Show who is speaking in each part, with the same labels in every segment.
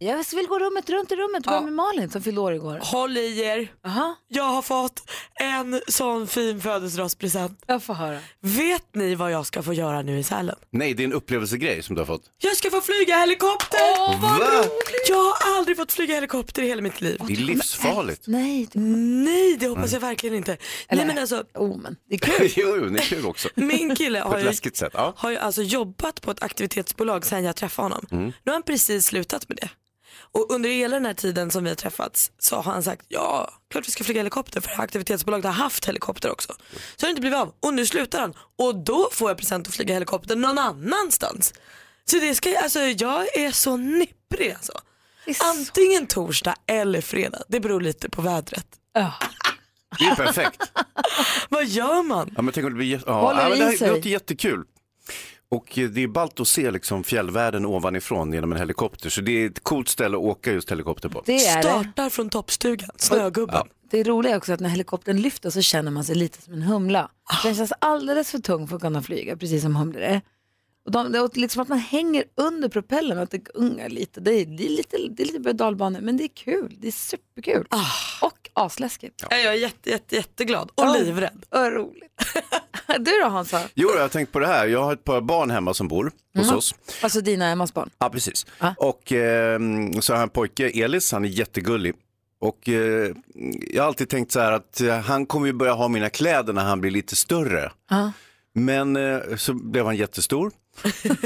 Speaker 1: Jag vill gå rummet runt i rummet. Var med Malin som fyllde år igår?
Speaker 2: Håll i er. Jag har fått en sån fin födelsedagspresent.
Speaker 1: Jag får höra.
Speaker 2: Vet ni vad jag ska få göra nu i Sälen?
Speaker 3: Nej, det är en upplevelsegrej som du har fått.
Speaker 2: Jag ska få flyga helikopter!
Speaker 3: Va?
Speaker 2: Jag har aldrig fått flyga helikopter i hela mitt liv.
Speaker 3: Det är livsfarligt.
Speaker 1: Nej, det-
Speaker 2: Nej, det hoppas jag verkligen inte. Nej, men alltså,
Speaker 1: oh, men det är kul.
Speaker 3: jo, jo, det är kul också.
Speaker 2: min kille
Speaker 3: På
Speaker 2: har
Speaker 3: ett
Speaker 2: ju,
Speaker 3: läskigt sätt. Ja.
Speaker 2: har ju alltså jobbat på ett aktivitetsbolag sedan jag träffade honom.
Speaker 3: Mm.
Speaker 2: Nu har han precis slutat med det. Och under hela den här tiden som vi har träffats så har han sagt ja, klart vi ska flyga helikopter för det här aktivitetsbolaget har haft helikopter också. Så har det inte blivit av och nu slutar han och då får jag present att flyga helikopter någon annanstans. Så det ska, alltså, jag är så nipprig alltså. Antingen torsdag eller fredag, det beror lite på vädret.
Speaker 3: Det är perfekt.
Speaker 2: Vad gör man?
Speaker 3: Ja, men tänk om det blir... jä- Ja,
Speaker 1: Håller
Speaker 3: ja, men det
Speaker 1: i
Speaker 3: här
Speaker 1: sig.
Speaker 3: låter jättekul. Och eh, det är ballt att se liksom fjällvärlden ovanifrån genom en helikopter. Så det är ett coolt ställe att åka just helikopter på.
Speaker 1: Det är det.
Speaker 2: Startar från toppstugan, snögubben.
Speaker 1: Det är roliga är också att när helikoptern lyfter så känner man sig lite som en humla. Den känns alldeles för tung för att kunna flyga, precis som humlor är. Och de, det är liksom att man hänger under propellen och att det gungar lite. Det är, det är lite, det är lite berg och dalbane, men det är kul. Det är superkul. Och asläskigt.
Speaker 2: Ja, Jag är jätte, jätte, jätteglad och livrädd.
Speaker 1: Vad roligt. du då Hansa?
Speaker 3: Jo, jag har tänkt på det här. Jag har ett par barn hemma som bor hos oss.
Speaker 1: Alltså dina och Emmas barn.
Speaker 3: Ja, precis. Och ehm, så har jag en pojke, Elis, han är jättegullig. Och eh, jag har alltid tänkt så här att eh, han kommer ju börja ha mina kläder när han blir lite större. Men eh, så blev han jättestor.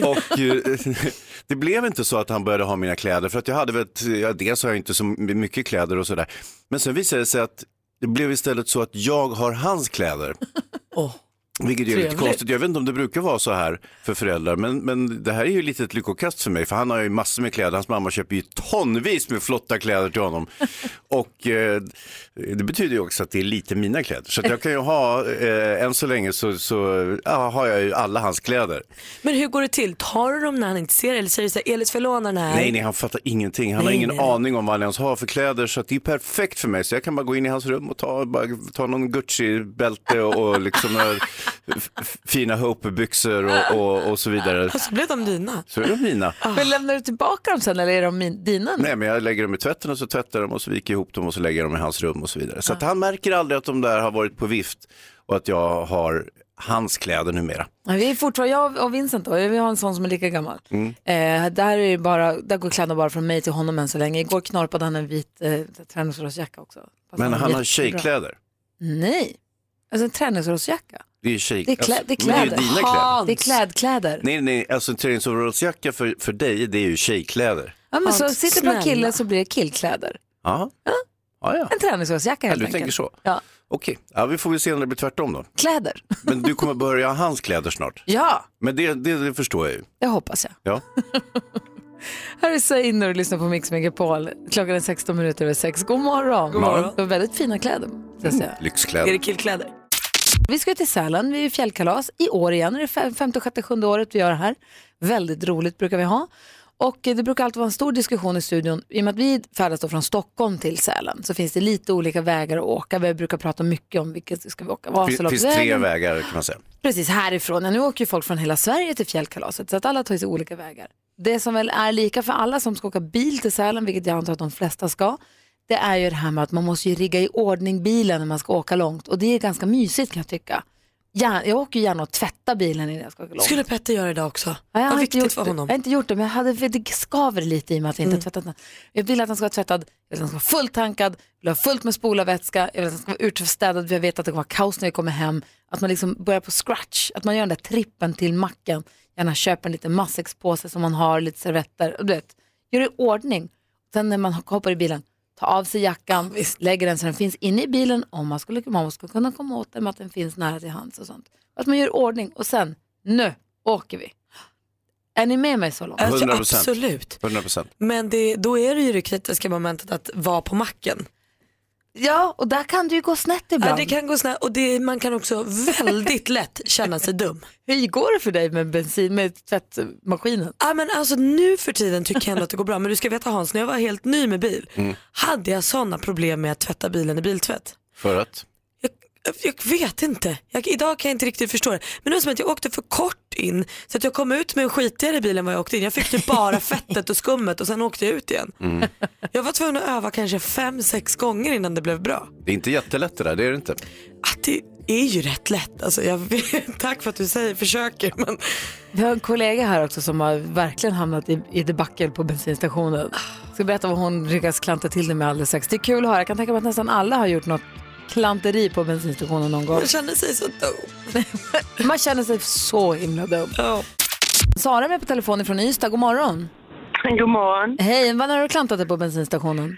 Speaker 3: och eh, det blev inte så att han började ha mina kläder för att jag hade väl, ett- ja, dels har jag inte så mycket kläder och sådär. Men sen visade det sig att det blev istället så att jag har hans kläder.
Speaker 2: Åh.
Speaker 3: Vilket är lite
Speaker 2: Trevligt.
Speaker 3: konstigt. Jag vet inte om det brukar vara så här för föräldrar, men, men det här är ju lite ett lyckokast för mig, för han har ju massor med kläder. Hans mamma köper ju tonvis med flotta kläder till honom. Och eh, det betyder ju också att det är lite mina kläder. Så att jag kan ju ha, eh, än så länge så, så ja, har jag ju alla hans kläder.
Speaker 2: Men hur går det till? Tar du dem när han inte ser eller säger du så här, Elis får jag låna den här?
Speaker 3: Nej, nej, han fattar ingenting. Han har
Speaker 2: Nej,
Speaker 3: ingen
Speaker 2: nej.
Speaker 3: aning om vad han ens har för kläder, så att det är perfekt för mig. Så jag kan bara gå in i hans rum och ta, bara, ta någon Gucci-bälte och, och liksom några f- f- fina Hope-byxor och, och, och så vidare.
Speaker 2: Och så blev de dina.
Speaker 3: Så är de mina.
Speaker 1: Men lämnar du tillbaka dem sen eller är de min, dina nu?
Speaker 3: Nej, men jag lägger dem i tvätten och så tvättar jag dem och så viker jag ihop dem och så lägger jag dem i hans rum och så vidare. Så att han märker aldrig att de där har varit på vift och att jag har hans kläder numera.
Speaker 1: Nej, Vi är fortfarande, jag och Vincent då, vi har en son som är lika gammal.
Speaker 3: Mm.
Speaker 1: Eh, där, är det bara, där går kläderna bara från mig till honom än så länge. Igår knorpade han en vit eh, träningsrollsjacka också. Fast
Speaker 3: Men han har
Speaker 1: jättebra.
Speaker 3: tjejkläder.
Speaker 1: Nej, alltså en träningsrollsjacka.
Speaker 3: Det är tjej...
Speaker 1: Det är klä-
Speaker 3: alltså,
Speaker 1: det är
Speaker 3: men
Speaker 1: kläder.
Speaker 3: Det är ju dina kläder.
Speaker 1: Det är klädkläder.
Speaker 3: Nej, nej, alltså en träningsoverallsjacka för, för dig, det är ju tjejkläder.
Speaker 1: Ja, men så
Speaker 2: Hans,
Speaker 1: sitter det på en kille
Speaker 2: snälla.
Speaker 1: så blir det killkläder.
Speaker 3: Ja, ja. ja.
Speaker 1: En träningsrollsjacka helt
Speaker 3: du
Speaker 1: enkelt.
Speaker 3: tänker så.
Speaker 1: Ja,
Speaker 3: Okej, ja, vi får väl se när det blir tvärtom då.
Speaker 1: kläder.
Speaker 3: Men du kommer börja ha hans kläder snart.
Speaker 1: ja,
Speaker 3: Men det, det, det förstår jag ju.
Speaker 1: det hoppas jag.
Speaker 3: Ja.
Speaker 1: Här är Zainor och lyssnar på Mix Megapol. Klockan är 16 minuter över 6. God morgon. God
Speaker 3: morgon.
Speaker 1: Du har väldigt fina kläder. ska jag säga.
Speaker 2: Är det
Speaker 3: Lyxkläder.
Speaker 2: killkläder?
Speaker 1: Vi ska till Sälen, vi är fjällkalas i år igen. Det är fem- femte, sjätte, sjunde året vi gör det här. Väldigt roligt brukar vi ha. Och eh, det brukar alltid vara en stor diskussion i studion. I och med att vi färdas då från Stockholm till Sälen så finns det lite olika vägar att åka. Vi brukar prata mycket om vilket ska vi åka.
Speaker 3: Det finns tre
Speaker 1: Vasaloppsvägen,
Speaker 3: vägar kan man säga.
Speaker 1: Precis härifrån. Ja, nu åker ju folk från hela Sverige till fjällkalaset så att alla tar sig olika vägar. Det som väl är lika för alla som ska åka bil till Sälen, vilket jag antar att de flesta ska, det är ju det här med att man måste ju rigga i ordning bilen när man ska åka långt och det är ganska mysigt kan jag tycka. Gärna, jag åker ju gärna och tvättar bilen innan jag ska åka långt.
Speaker 2: Skulle Petter göra idag också?
Speaker 1: Ja, jag,
Speaker 2: Vad
Speaker 1: har inte
Speaker 2: viktigt
Speaker 1: gjort,
Speaker 2: för
Speaker 1: det. jag
Speaker 2: honom. Mm.
Speaker 1: har inte gjort det, men jag hade, det skaver lite i och med att jag inte har tvättat den. Jag vill att den ska vara tvättad, jag vill att den ska vara fullt tankad, jag vill ha fullt med spolarvätska, jag vill att den ska vara utstädad, för jag vet att det kommer vara kaos när jag kommer hem. Att man liksom börjar på scratch, att man gör den där trippen till macken, gärna köper en liten matsäckspåse som man har, lite servetter, och du vet, gör det i ordning. Sen när man hoppar i bilen, tar av sig jackan, lägger den så den finns inne i bilen om man skulle, man skulle kunna komma åt den med att den finns nära till hands och sånt. Att man gör i ordning och sen, nu åker vi. Är ni med mig så långt?
Speaker 2: Alltså,
Speaker 3: 100%.
Speaker 2: absolut.
Speaker 3: 100 procent.
Speaker 2: Men det, då är det ju det kritiska momentet att vara på macken.
Speaker 1: Ja, och där kan du ju gå snett
Speaker 2: Ja,
Speaker 1: ibland.
Speaker 2: det kan gå snett och det, man kan också väldigt lätt känna sig dum.
Speaker 1: Hur går det för dig med bensin, med tvättmaskinen?
Speaker 2: Ja, men alltså, nu för tiden tycker jag ändå att det går bra. Men du ska veta Hans, när jag var helt ny med bil
Speaker 3: Mm.
Speaker 2: hade jag sådana problem med att tvätta bilen i biltvätt.
Speaker 3: För att?
Speaker 2: Jag, jag vet inte. Jag, idag kan jag inte riktigt förstå det. Men det var som att jag åkte för kort in så att jag kom ut med en skitigare bil än vad jag åkte in. Jag fick typ bara fettet och skummet och sen åkte jag ut igen. Jag var tvungen att öva kanske fem, sex gånger innan det blev bra.
Speaker 3: Det är inte jättelätt det där, det är det inte.
Speaker 2: Att det är ju rätt lätt. Alltså, jag vet, tack för att du säger försöker. Men
Speaker 1: Vi har en kollega här också som har verkligen hamnat i, i debacle på bensinstationen. Jag ska berätta vad hon lyckas klanta till det med alldeles strax. Det är kul att höra. Jag kan tänka mig att nästan alla har gjort något klanteri på bensinstationen någon gång.
Speaker 2: jag kände sig så dum.
Speaker 1: Man känner sig så himla dum.
Speaker 2: Ja.
Speaker 1: Sara är med på telefonen från Ystad. God morgon.
Speaker 4: God morgon.
Speaker 1: Hej, vad har du klantat dig på bensinstationen?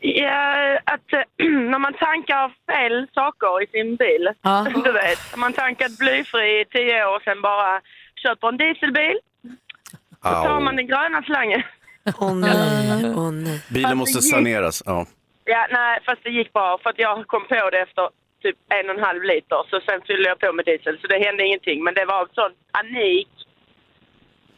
Speaker 4: Ja, att eh, när man tankar fel saker i sin bil,
Speaker 1: Ja.
Speaker 4: du vet. Om Man tankat blyfri i tio år och sen bara köper en dieselbil,
Speaker 3: Au.
Speaker 4: tar man den gröna slangen.
Speaker 2: Åh nej, åh nej.
Speaker 3: Bilen måste saneras. Ja.
Speaker 4: Ja, nej, fast det gick bra för att jag kom på det efter typ en och en halv liter så sen fyllde jag på med diesel så det hände ingenting men det var sån panik.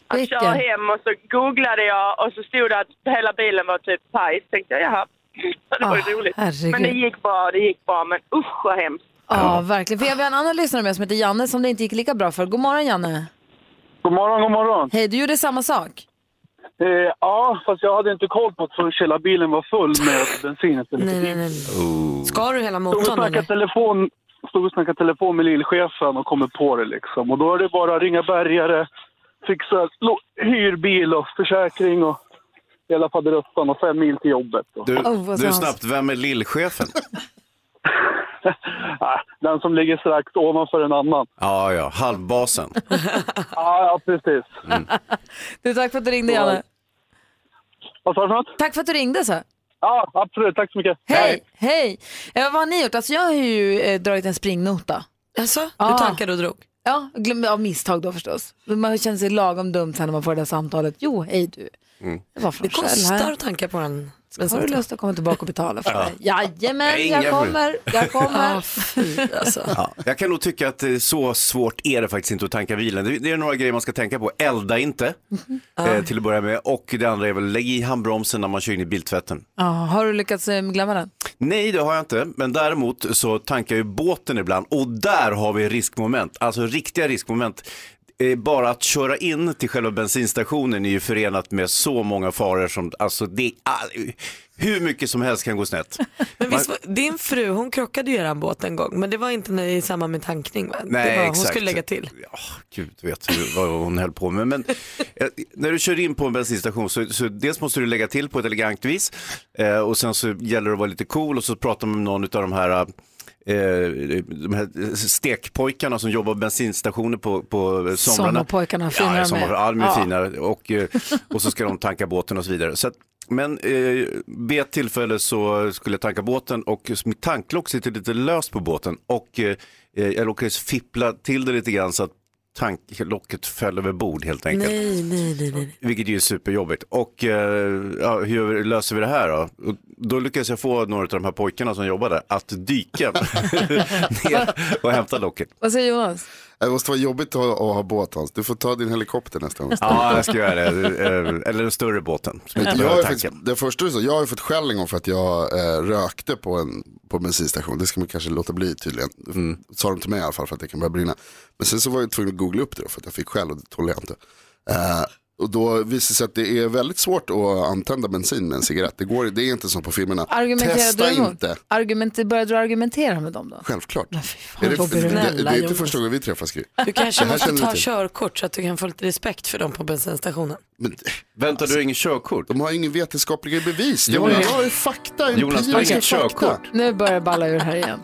Speaker 4: Att
Speaker 1: Vilken?
Speaker 4: köra hem och så googlade jag och så stod det att hela bilen var typ paj. Så tänkte jag jaha. Så det var ju
Speaker 1: Ah,
Speaker 4: roligt.
Speaker 1: herregud.
Speaker 4: Men det gick bra, det gick bra men usch vad hemskt.
Speaker 1: Ja, verkligen. För jag har en annan lyssnare med som heter Janne som det inte gick lika bra för. God morgon Janne.
Speaker 5: God morgon, god morgon.
Speaker 1: Hej, du gjorde samma sak.
Speaker 5: Eh, ja, fast jag hade inte koll på att först hela bilen var full med bensin istället.
Speaker 2: nej, nej, nej. Ska du hela
Speaker 5: Stod och
Speaker 2: motorn
Speaker 5: snackade
Speaker 2: eller?
Speaker 5: telefon, stod och snackade telefon med lillchefen och kommer på det liksom. Och då är det bara att ringa bärgare, fixa lo- hyrbil och försäkring och hela faderuttan och fem mil till jobbet. Och,
Speaker 3: Du,
Speaker 1: Oh, vad
Speaker 3: du
Speaker 1: sant.
Speaker 3: snabbt, vem är lillchefen?
Speaker 5: Ah, den som ligger strax ovanför en annan. Ah,
Speaker 3: Ja, ja, halvbasen.
Speaker 5: Ja, ja precis.
Speaker 1: Du, tack för att du ringde Janne.
Speaker 5: Vad sa du för något?
Speaker 1: Tack för att du ringde så.
Speaker 5: Ja, absolut. Tack så mycket.
Speaker 1: Hej! Hej! Eh, vad har ni gjort? Alltså jag har ju eh, dragit en springnota.
Speaker 2: Alltså,
Speaker 1: Ah.
Speaker 2: du tankade och drog?
Speaker 1: Ja, glöm, av misstag då förstås. Man känner sig lagom dum sen när man får det där samtalet. Jo, hej du.
Speaker 6: Mm.
Speaker 1: Det var från
Speaker 2: Det
Speaker 1: Shell
Speaker 2: kostar
Speaker 1: här.
Speaker 2: att tanka på den.
Speaker 1: Har du lust att komma tillbaka och betala för det? Jajamän,
Speaker 3: Nej,
Speaker 1: jag
Speaker 3: inga
Speaker 1: kommer. Jag kommer.
Speaker 2: Ah, alltså.
Speaker 3: Ja. Jag kan nog tycka att eh, så svårt är det faktiskt inte att tanka bilen. Det- Det är några grejer man ska tänka på. Elda inte,
Speaker 1: Mm-hmm.
Speaker 3: eh, till att börja med. Och det andra är väl, lägg i handbromsen när man kör in i biltvätten.
Speaker 1: Ja, har du lyckats eh, glömma den?
Speaker 3: Nej, det har jag inte. Men däremot så tankar ju båten ibland och där har vi riskmoment, alltså riktiga riskmoment. Eh, Bara att köra in till själva bensinstationen är ju förenat med så många faror som, alltså det, ah, hur mycket som helst kan gå snett.
Speaker 2: Men visst, var- din fru hon krockade ju eran båt en gång men det var inte när- i samband med tankning va? det
Speaker 3: Nej,
Speaker 2: var,
Speaker 3: exakt.
Speaker 2: eh, Hon skulle lägga till.
Speaker 3: Ja, gud vet hur- vad hon höll på med. Men eh, när du kör in på en bensinstation så, så dels måste du lägga till på ett elegant vis eh, och sen så gäller det att vara lite cool och så pratar man med någon av de här eh, de här stekpojkarna som jobbar på bensinstationer på, på somrarna.
Speaker 1: Sommarpojkarna, fina de
Speaker 3: ja,
Speaker 1: är.
Speaker 3: sommar, ja, de är
Speaker 1: Ja.
Speaker 3: fina. Och, eh, och så ska de tanka båten och så vidare. Så att, men eh, vid ett tillfälle så skulle jag tanka båten och just mitt tanklock sitter lite löst på båten och eh, jag lyckades fippla till det lite grann så att tanklocket föll över bord helt enkelt.
Speaker 2: Nej, nej, nej, nej.
Speaker 3: Vilket ju är superjobbigt. Och eh, ja, hur löser vi det här då? Och då lyckades jag få några av de här pojkarna som jobbade att dyka ner och hämta locket.
Speaker 1: Vad säger Jonas?
Speaker 6: Det måste vara jobbigt att ha, att ha båt Hans. Du får ta din helikopter nästa gång.
Speaker 3: Ja, jag ska göra det. Eh, Eller den större båten. som
Speaker 6: Jag
Speaker 3: inte
Speaker 6: har
Speaker 3: behöver
Speaker 6: ju
Speaker 3: tanka.
Speaker 6: faktiskt, det första du sa, jag har ju fått skäll en gång för att jag eh, rökte på en, på en bensinstation. Det ska man kanske låta bli tydligen. Sa de till mig i alla fall för att det kan börja brinna. Men sen så var jag tvungen att googla upp det då, för att jag fick skäll och det tålde jag inte. Eh, och då visade det sig att det är väldigt svårt att antända bensin med en cigarett. Det, går, det är inte som på filmerna. Testa
Speaker 1: Argumenterar du emot?
Speaker 6: inte.
Speaker 1: Argument, började du argumentera med dem då?
Speaker 6: Självklart.
Speaker 1: fan,
Speaker 6: Är det,
Speaker 1: vad
Speaker 6: det, det, det
Speaker 1: snälla,
Speaker 6: är inte
Speaker 1: Jonas.
Speaker 6: första gången vi träffas Gry.
Speaker 2: Du
Speaker 6: Det
Speaker 2: kanske
Speaker 6: här
Speaker 2: måste
Speaker 6: känner vi
Speaker 2: ta
Speaker 6: till.
Speaker 2: körkort så att du kan få lite respekt för dem på bensinstationen.
Speaker 6: Men
Speaker 3: Väntar du ingen körkort?
Speaker 6: Alltså, de har ingen vetenskapliga bevis.
Speaker 3: Jonas-
Speaker 6: Jonas, jag har ju fakta.
Speaker 3: Jonas, du har
Speaker 6: empiriska
Speaker 3: inget
Speaker 6: fakta.
Speaker 3: körkort.
Speaker 1: Nu börjar det balla ur här igen.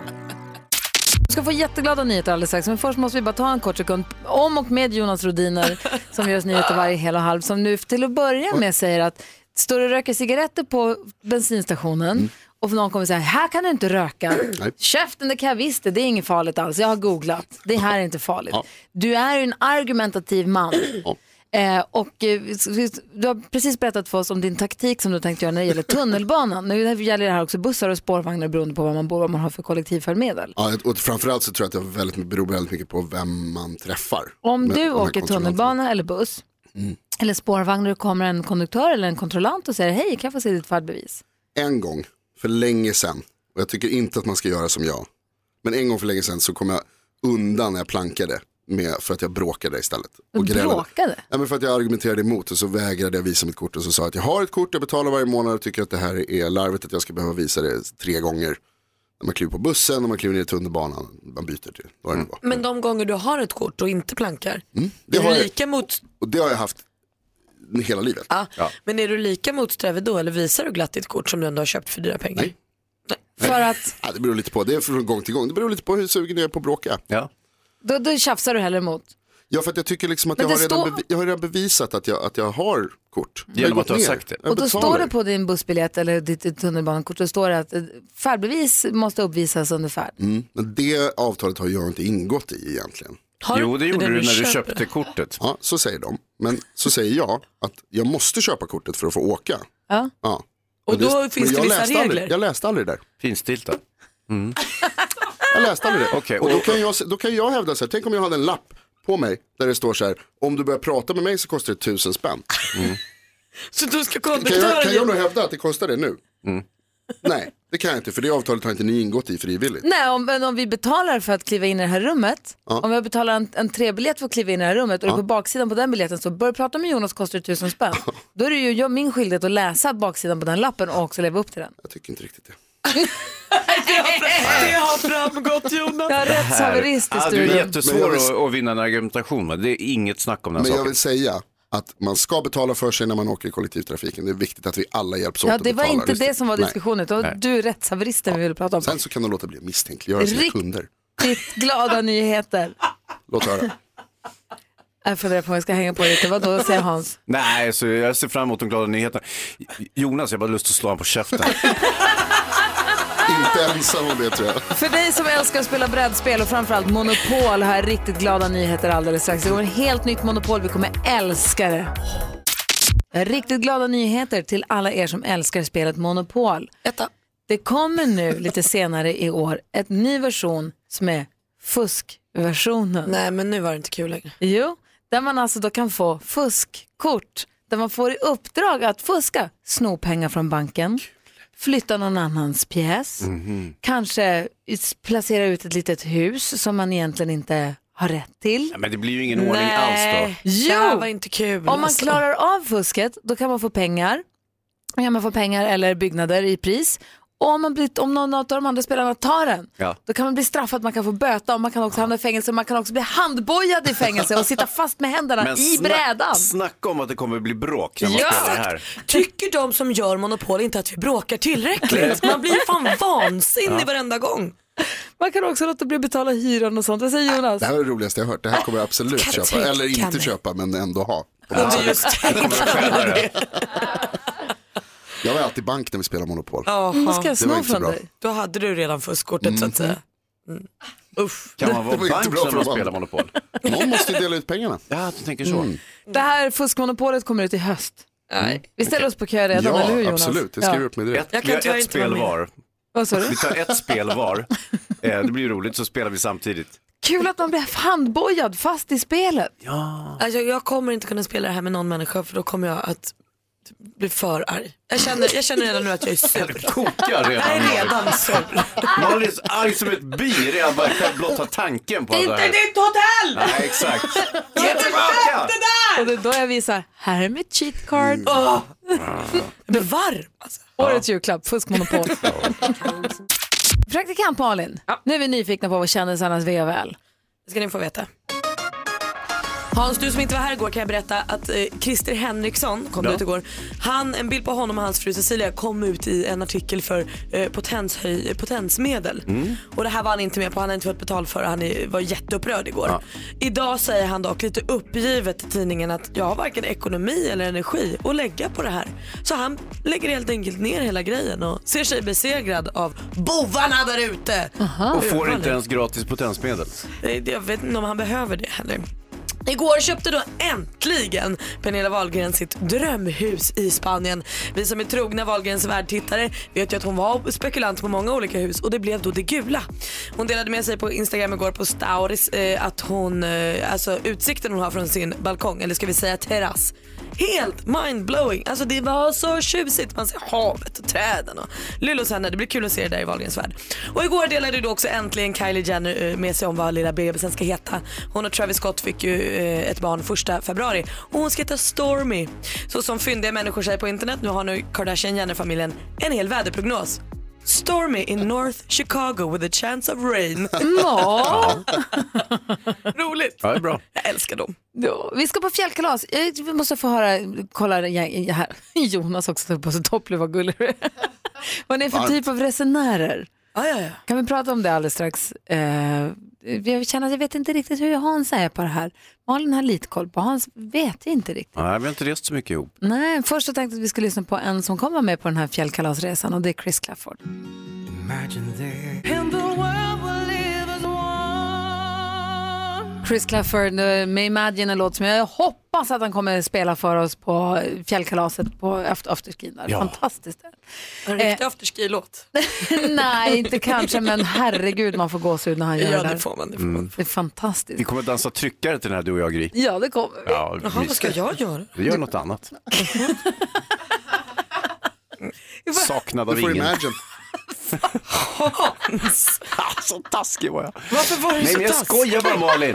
Speaker 1: Vi ska få jätteglada nyheter alldeles strax, men först måste vi bara ta en kort sekund om och med Jonas Rodiner som gör oss nyheter varje hel och halv, som nu till att börja med säger att står du och röker cigaretter på bensinstationen och någon kommer säga här kan du inte röka. Käften, det kan jag visst det, det är inget farligt alls, jag har googlat, det här är inte farligt. Du är ju en argumentativ man. Eh, och eh, s- s- du har precis berättat för oss om din taktik som du tänkte göra när det gäller tunnelbanan. Nu gäller det här också bussar och spårvagnar beroende på var man bor, vad man har för kollektivfärdmedel.
Speaker 6: Ja, och framförallt så tror jag att det väldigt, beror väldigt mycket på vem man träffar.
Speaker 1: Om
Speaker 6: Med de
Speaker 1: du
Speaker 6: här
Speaker 1: åker
Speaker 6: kontrollanterna. Mm.
Speaker 1: tunnelbana eller buss eller spårvagn och det kommer en konduktör eller en kontrollant och säger hej, kan jag få se ditt färdbevis?
Speaker 6: En gång, för länge sedan, och jag tycker inte att man ska göra som jag. Men en gång för länge sedan så kom jag undan när jag plankade med, för att jag bråkade istället.
Speaker 1: Du
Speaker 6: grälade.
Speaker 1: bråkade?
Speaker 6: Ja, men för att jag argumenterade emot och så vägrade jag visa mitt kort och så sa jag att jag har ett kort, jag betalar varje månad och tycker att det här är larvigt att jag ska behöva visa det tre gånger. När man kliver på bussen, när man kliver ner i tunnelbanan, man byter till vad det nu var.
Speaker 2: Men de gånger du har ett kort och inte plankar,
Speaker 6: Mm, Det
Speaker 2: är
Speaker 6: har,
Speaker 2: du
Speaker 6: jag,
Speaker 2: lika mot...
Speaker 6: och det har jag haft hela livet.
Speaker 2: Ja. Men är du lika motsträvig då eller visar du glatt ditt kort som du ändå har köpt för dyra pengar?
Speaker 6: Nej.
Speaker 1: För att
Speaker 6: Ja, det beror lite på, det är från gång till gång. Det beror lite på hur sugen jag är på att bråka.
Speaker 3: Ja.
Speaker 1: då, då tjafsar du hellre emot.
Speaker 6: Ja, för att jag tycker liksom att
Speaker 1: Men
Speaker 6: jag har,
Speaker 1: det
Speaker 6: redan
Speaker 1: står-
Speaker 6: bevi- jag har redan bevisat att jag, att jag har kort. Jag
Speaker 3: Genom
Speaker 6: gått
Speaker 3: att du har
Speaker 6: ner.
Speaker 3: sagt det.
Speaker 6: Jag
Speaker 1: Och då
Speaker 6: betalar.
Speaker 1: står det på din bussbiljett eller ditt ditt tunnelbanekort, då står det att eh, färdbevis måste uppvisas under färd.
Speaker 6: Mm. Men det avtalet har jag inte ingått i egentligen.
Speaker 2: Har
Speaker 3: Jo, det
Speaker 2: inte
Speaker 3: gjorde du när du
Speaker 2: köper?
Speaker 3: köpte kortet.
Speaker 6: Ja, så säger de. Men så säger jag att jag måste köpa kortet för att få åka.
Speaker 1: Ja.
Speaker 6: Ja.
Speaker 2: Och då
Speaker 6: men
Speaker 2: finns det
Speaker 6: jag
Speaker 2: vissa
Speaker 6: läste aldrig-
Speaker 2: regler.
Speaker 6: Jag läste aldrig det där.
Speaker 3: Finstilta.
Speaker 6: Jag läste aldrig det.
Speaker 3: Okej,
Speaker 6: och
Speaker 3: och-
Speaker 6: då, kan jag, då kan jag hävda så här, tänk om jag hade en lapp på mig där det står så här, om du börjar prata med mig så kostar det tusen spänn.
Speaker 2: Så du ska
Speaker 6: Kan jag,
Speaker 2: konduktören
Speaker 6: kan jag
Speaker 2: ge...
Speaker 6: då hävda att det kostar det nu? Nej, det kan jag inte för det avtalet har inte ni ingått i frivilligt.
Speaker 1: Nej, om, men om vi betalar för att kliva in i det här rummet, om jag betalar en, en trebiljett för att kliva in i det här rummet och det på baksidan på den biljetten så börjar prata med Jonas kostar det tusen spänn. Då är det ju jag, min skyldighet att läsa baksidan på den lappen och också leva upp till den.
Speaker 6: Jag tycker inte riktigt det.
Speaker 2: Det har framgått Jonas.
Speaker 1: Jag har rättshaverist i
Speaker 3: Ah, du
Speaker 1: studion.
Speaker 3: är
Speaker 6: Men
Speaker 3: jättesvår
Speaker 6: jag vill-
Speaker 3: att, att vinna en argumentation med. Det är inget snack om den
Speaker 6: Men jag
Speaker 3: saken.
Speaker 6: vill säga att man ska betala för sig när man åker i kollektivtrafiken. Det är viktigt att vi alla hjälps åt
Speaker 1: Ja,
Speaker 6: och
Speaker 1: det var
Speaker 6: betalar.
Speaker 1: inte det som var
Speaker 6: Nej.
Speaker 1: diskussionen, utan du är rättshaveristen vi ville prata om.
Speaker 6: Sen så kan de låta bli att misstänkliggöra sina
Speaker 1: Rikt-
Speaker 6: kunder.
Speaker 1: Ditt glada nyheter.
Speaker 6: Låt höra.
Speaker 1: Jag funderar på om jag ska hänga på lite, vadå säger Hans?
Speaker 3: Nej, så jag ser fram emot de glada nyheterna. Jonas, jag har bara lust att slå honom på käften.
Speaker 6: inte ensam om det tror jag.
Speaker 1: För dig som älskar att spela brädspel och framförallt Monopol har jag riktigt glada nyheter alldeles strax. Det kommer ett helt nytt Monopol, vi kommer älska det. Riktigt glada nyheter till alla er som älskar spelet Monopol. Det kommer nu lite senare i år ett ny version som är fuskversionen.
Speaker 2: Nej men nu var det inte kul längre.
Speaker 1: Jo, där man alltså då kan få fuskkort. Där man får i uppdrag att fuska, sno pengar från banken, flytta någon annans pjäs,
Speaker 3: Mhm.
Speaker 1: kanske is- placera ut ett litet hus som man egentligen inte har rätt till.
Speaker 3: Nej, Men det blir ju ingen ordning alls då.
Speaker 2: Det här
Speaker 1: Jo,
Speaker 2: var inte kul.
Speaker 1: om man
Speaker 2: alltså.
Speaker 1: klarar av fusket då kan man få pengar. Då kan man få pengar eller byggnader i pris. Och om, man blir, om någon av de andra spelarna tar den,
Speaker 3: Ja.
Speaker 1: då kan man bli straffad, man kan få böta och man kan också hamna i fängelse. Man kan också bli handbojad i fängelse och sitta fast med händerna
Speaker 3: Men
Speaker 1: i
Speaker 3: snack-
Speaker 1: brädan.
Speaker 3: Snacka om att det kommer bli bråk när man
Speaker 1: Ja.
Speaker 3: spelar det här.
Speaker 2: Tycker de som gör monopol inte att vi bråkar tillräckligt? Man blir fan vansinnig varenda gång.
Speaker 1: Man kan också låta bli att betala hyran och sånt. Vad säger Jonas?
Speaker 6: Det här är det roligaste jag hört. Det här kommer jag absolut
Speaker 2: Kan
Speaker 6: köpa.
Speaker 2: tänka
Speaker 6: Eller inte
Speaker 2: mig.
Speaker 6: köpa men ändå ha.
Speaker 2: Och vi just
Speaker 6: Jag var alltid bank när vi spelade Monopol.
Speaker 1: Vad ska jag
Speaker 6: Det var
Speaker 1: sno
Speaker 6: inte så
Speaker 1: från
Speaker 6: bra.
Speaker 1: dig?
Speaker 2: Då hade du redan fuskkortet så att säga. Mm. Usch.
Speaker 3: Kan man vara
Speaker 6: var inte
Speaker 3: bank
Speaker 6: bra
Speaker 3: när
Speaker 6: för
Speaker 3: man
Speaker 6: dem.
Speaker 3: spelar Monopol?
Speaker 6: Någon måste ju dela ut pengarna. Mm.
Speaker 3: Ja, du tänker så.
Speaker 1: Det här fuskmonopolet kommer ut i höst. Mm. Vi ställer oss på kö redan, eller hur
Speaker 6: Ja,
Speaker 1: Jonas?
Speaker 6: absolut. Det skriver
Speaker 1: Ja.
Speaker 6: upp mig direkt.
Speaker 3: Ett,
Speaker 2: Jag kan
Speaker 3: vi har
Speaker 2: tyvärr
Speaker 3: ett
Speaker 2: inte vara
Speaker 3: spel
Speaker 2: med.
Speaker 3: var.
Speaker 1: Vad sa du?
Speaker 3: Vi tar ett spel var. Eh, Det blir ju roligt, så spelar vi samtidigt.
Speaker 1: Kul att man blir handbojad fast i spelet.
Speaker 2: Alltså, jag- jag kommer inte kunna spela det här med någon människa för då kommer jag att bli för arg. Jag känner, jag känner redan nu att jag är sur.
Speaker 3: Kokar
Speaker 2: Jag
Speaker 3: redan.
Speaker 2: är
Speaker 3: Malin.
Speaker 2: redan sur.
Speaker 3: Malin är så arg som ett bi redan bara jag blotta tanken på att det här. Inte ditt hotell! Nej, exakt. Ge tillbaka!
Speaker 1: Och det är då jag visar, här är mitt cheat card.
Speaker 6: Mm.
Speaker 2: Åh. Jag blir varm. Alltså.
Speaker 1: Årets julklapp, fuskmonopol. Praktikant Malin, nu är vi nyfikna på vad kändisarnas VVL.
Speaker 2: Det ska ni få veta. Hans, du som inte var här igår kan jag berätta att eh, Christer Henriksson kom ut igår. Han, en bild på honom och hans fru Cecilia kom ut i en artikel för eh, potenshöj, potensmedel. Och det här var han inte med på, han har inte fått betalt för det. Han är, var jätteupprörd igår. Idag säger han dock lite uppgivet till tidningen att jag har varken ekonomi eller energi att lägga på det här. Så han lägger helt enkelt ner hela grejen och ser sig besegrad av bovarna där ute.
Speaker 3: Och får inte ens gratis potensmedel.
Speaker 2: Eh, Jag vet inte om han behöver det heller. Igår köpte då äntligen Pernilla Wahlgren sitt drömhus i Spanien. Vi som är trogna Wahlgrens värld-tittare vet ju att hon var spekulant på många olika hus och det blev då det gula. Hon delade med sig på Instagram igår på Stauris eh, att hon, eh, alltså utsikten hon har från sin balkong, eller ska vi säga terrass, Helt mindblowing. Alltså det var så tjusigt. Man ser havet och träden och Lullos händer. Det blir kul att se det där i Wahlgrens värld. Och igår delade ju då också äntligen Kylie Jenner eh, med sig om vad lilla bebisen ska heta. Hon och Travis Scott fick ju eh, ett barn första februari och hon ska heta Stormy. Så som fyndiga människor säger på internet, nu har nu Kardashian Jenner-familjen en hel väderprognos. Stormy in North Chicago with a chance of rain.
Speaker 1: Nå.
Speaker 2: Roligt.
Speaker 3: Ja, det är bra.
Speaker 2: Jag älskar dem.
Speaker 1: Ja, Vi ska på fjällkalas. Eh, Vi måste få höra, kolla jag- här. Jonas också tar på sig toppluva, vad gullig du är. Vad ni är för typ av resenärer.
Speaker 2: Ja, ja, ja.
Speaker 1: Kan vi prata om det alldeles strax? Eh, jag känner att jag vet inte riktigt hur Hans är på det här. Malin har lite koll på Hans, vet jag inte riktigt.
Speaker 3: Nej, vi har inte rest så mycket ihop.
Speaker 1: Nej, först så tänkte jag att vi skulle lyssna på en som kommer med på den här fjällkalasresan och det är Chris Clafford. Chris Clafford eh, med Imagine, en låt som jag hoppas att han kommer spela för oss på fjällkalaset på efter afterskin. där.
Speaker 3: Ja.
Speaker 1: Fantastiskt.
Speaker 2: En riktig afterski-låt.
Speaker 1: Nej, inte kanske, men herregud man får gåshud när han gör
Speaker 2: Ja,
Speaker 1: det.
Speaker 2: det Mm.
Speaker 1: här.
Speaker 2: får man. Det får man.
Speaker 1: Det är fantastiskt.
Speaker 3: Vi kommer att dansa tryckare till den här du och jag, Gry.
Speaker 1: Ja, det kommer.
Speaker 3: Ja,
Speaker 2: Jaha, vad ska
Speaker 3: mysigt.
Speaker 2: jag göra?
Speaker 3: Vi gör något annat. Saknad av
Speaker 6: Du får
Speaker 3: ingen.
Speaker 6: imagine.
Speaker 2: Hans!
Speaker 3: Så taskig var jag.
Speaker 2: Varför var du
Speaker 3: Nej,
Speaker 2: så
Speaker 3: men jag
Speaker 2: taskig?
Speaker 3: skojar bara Malin.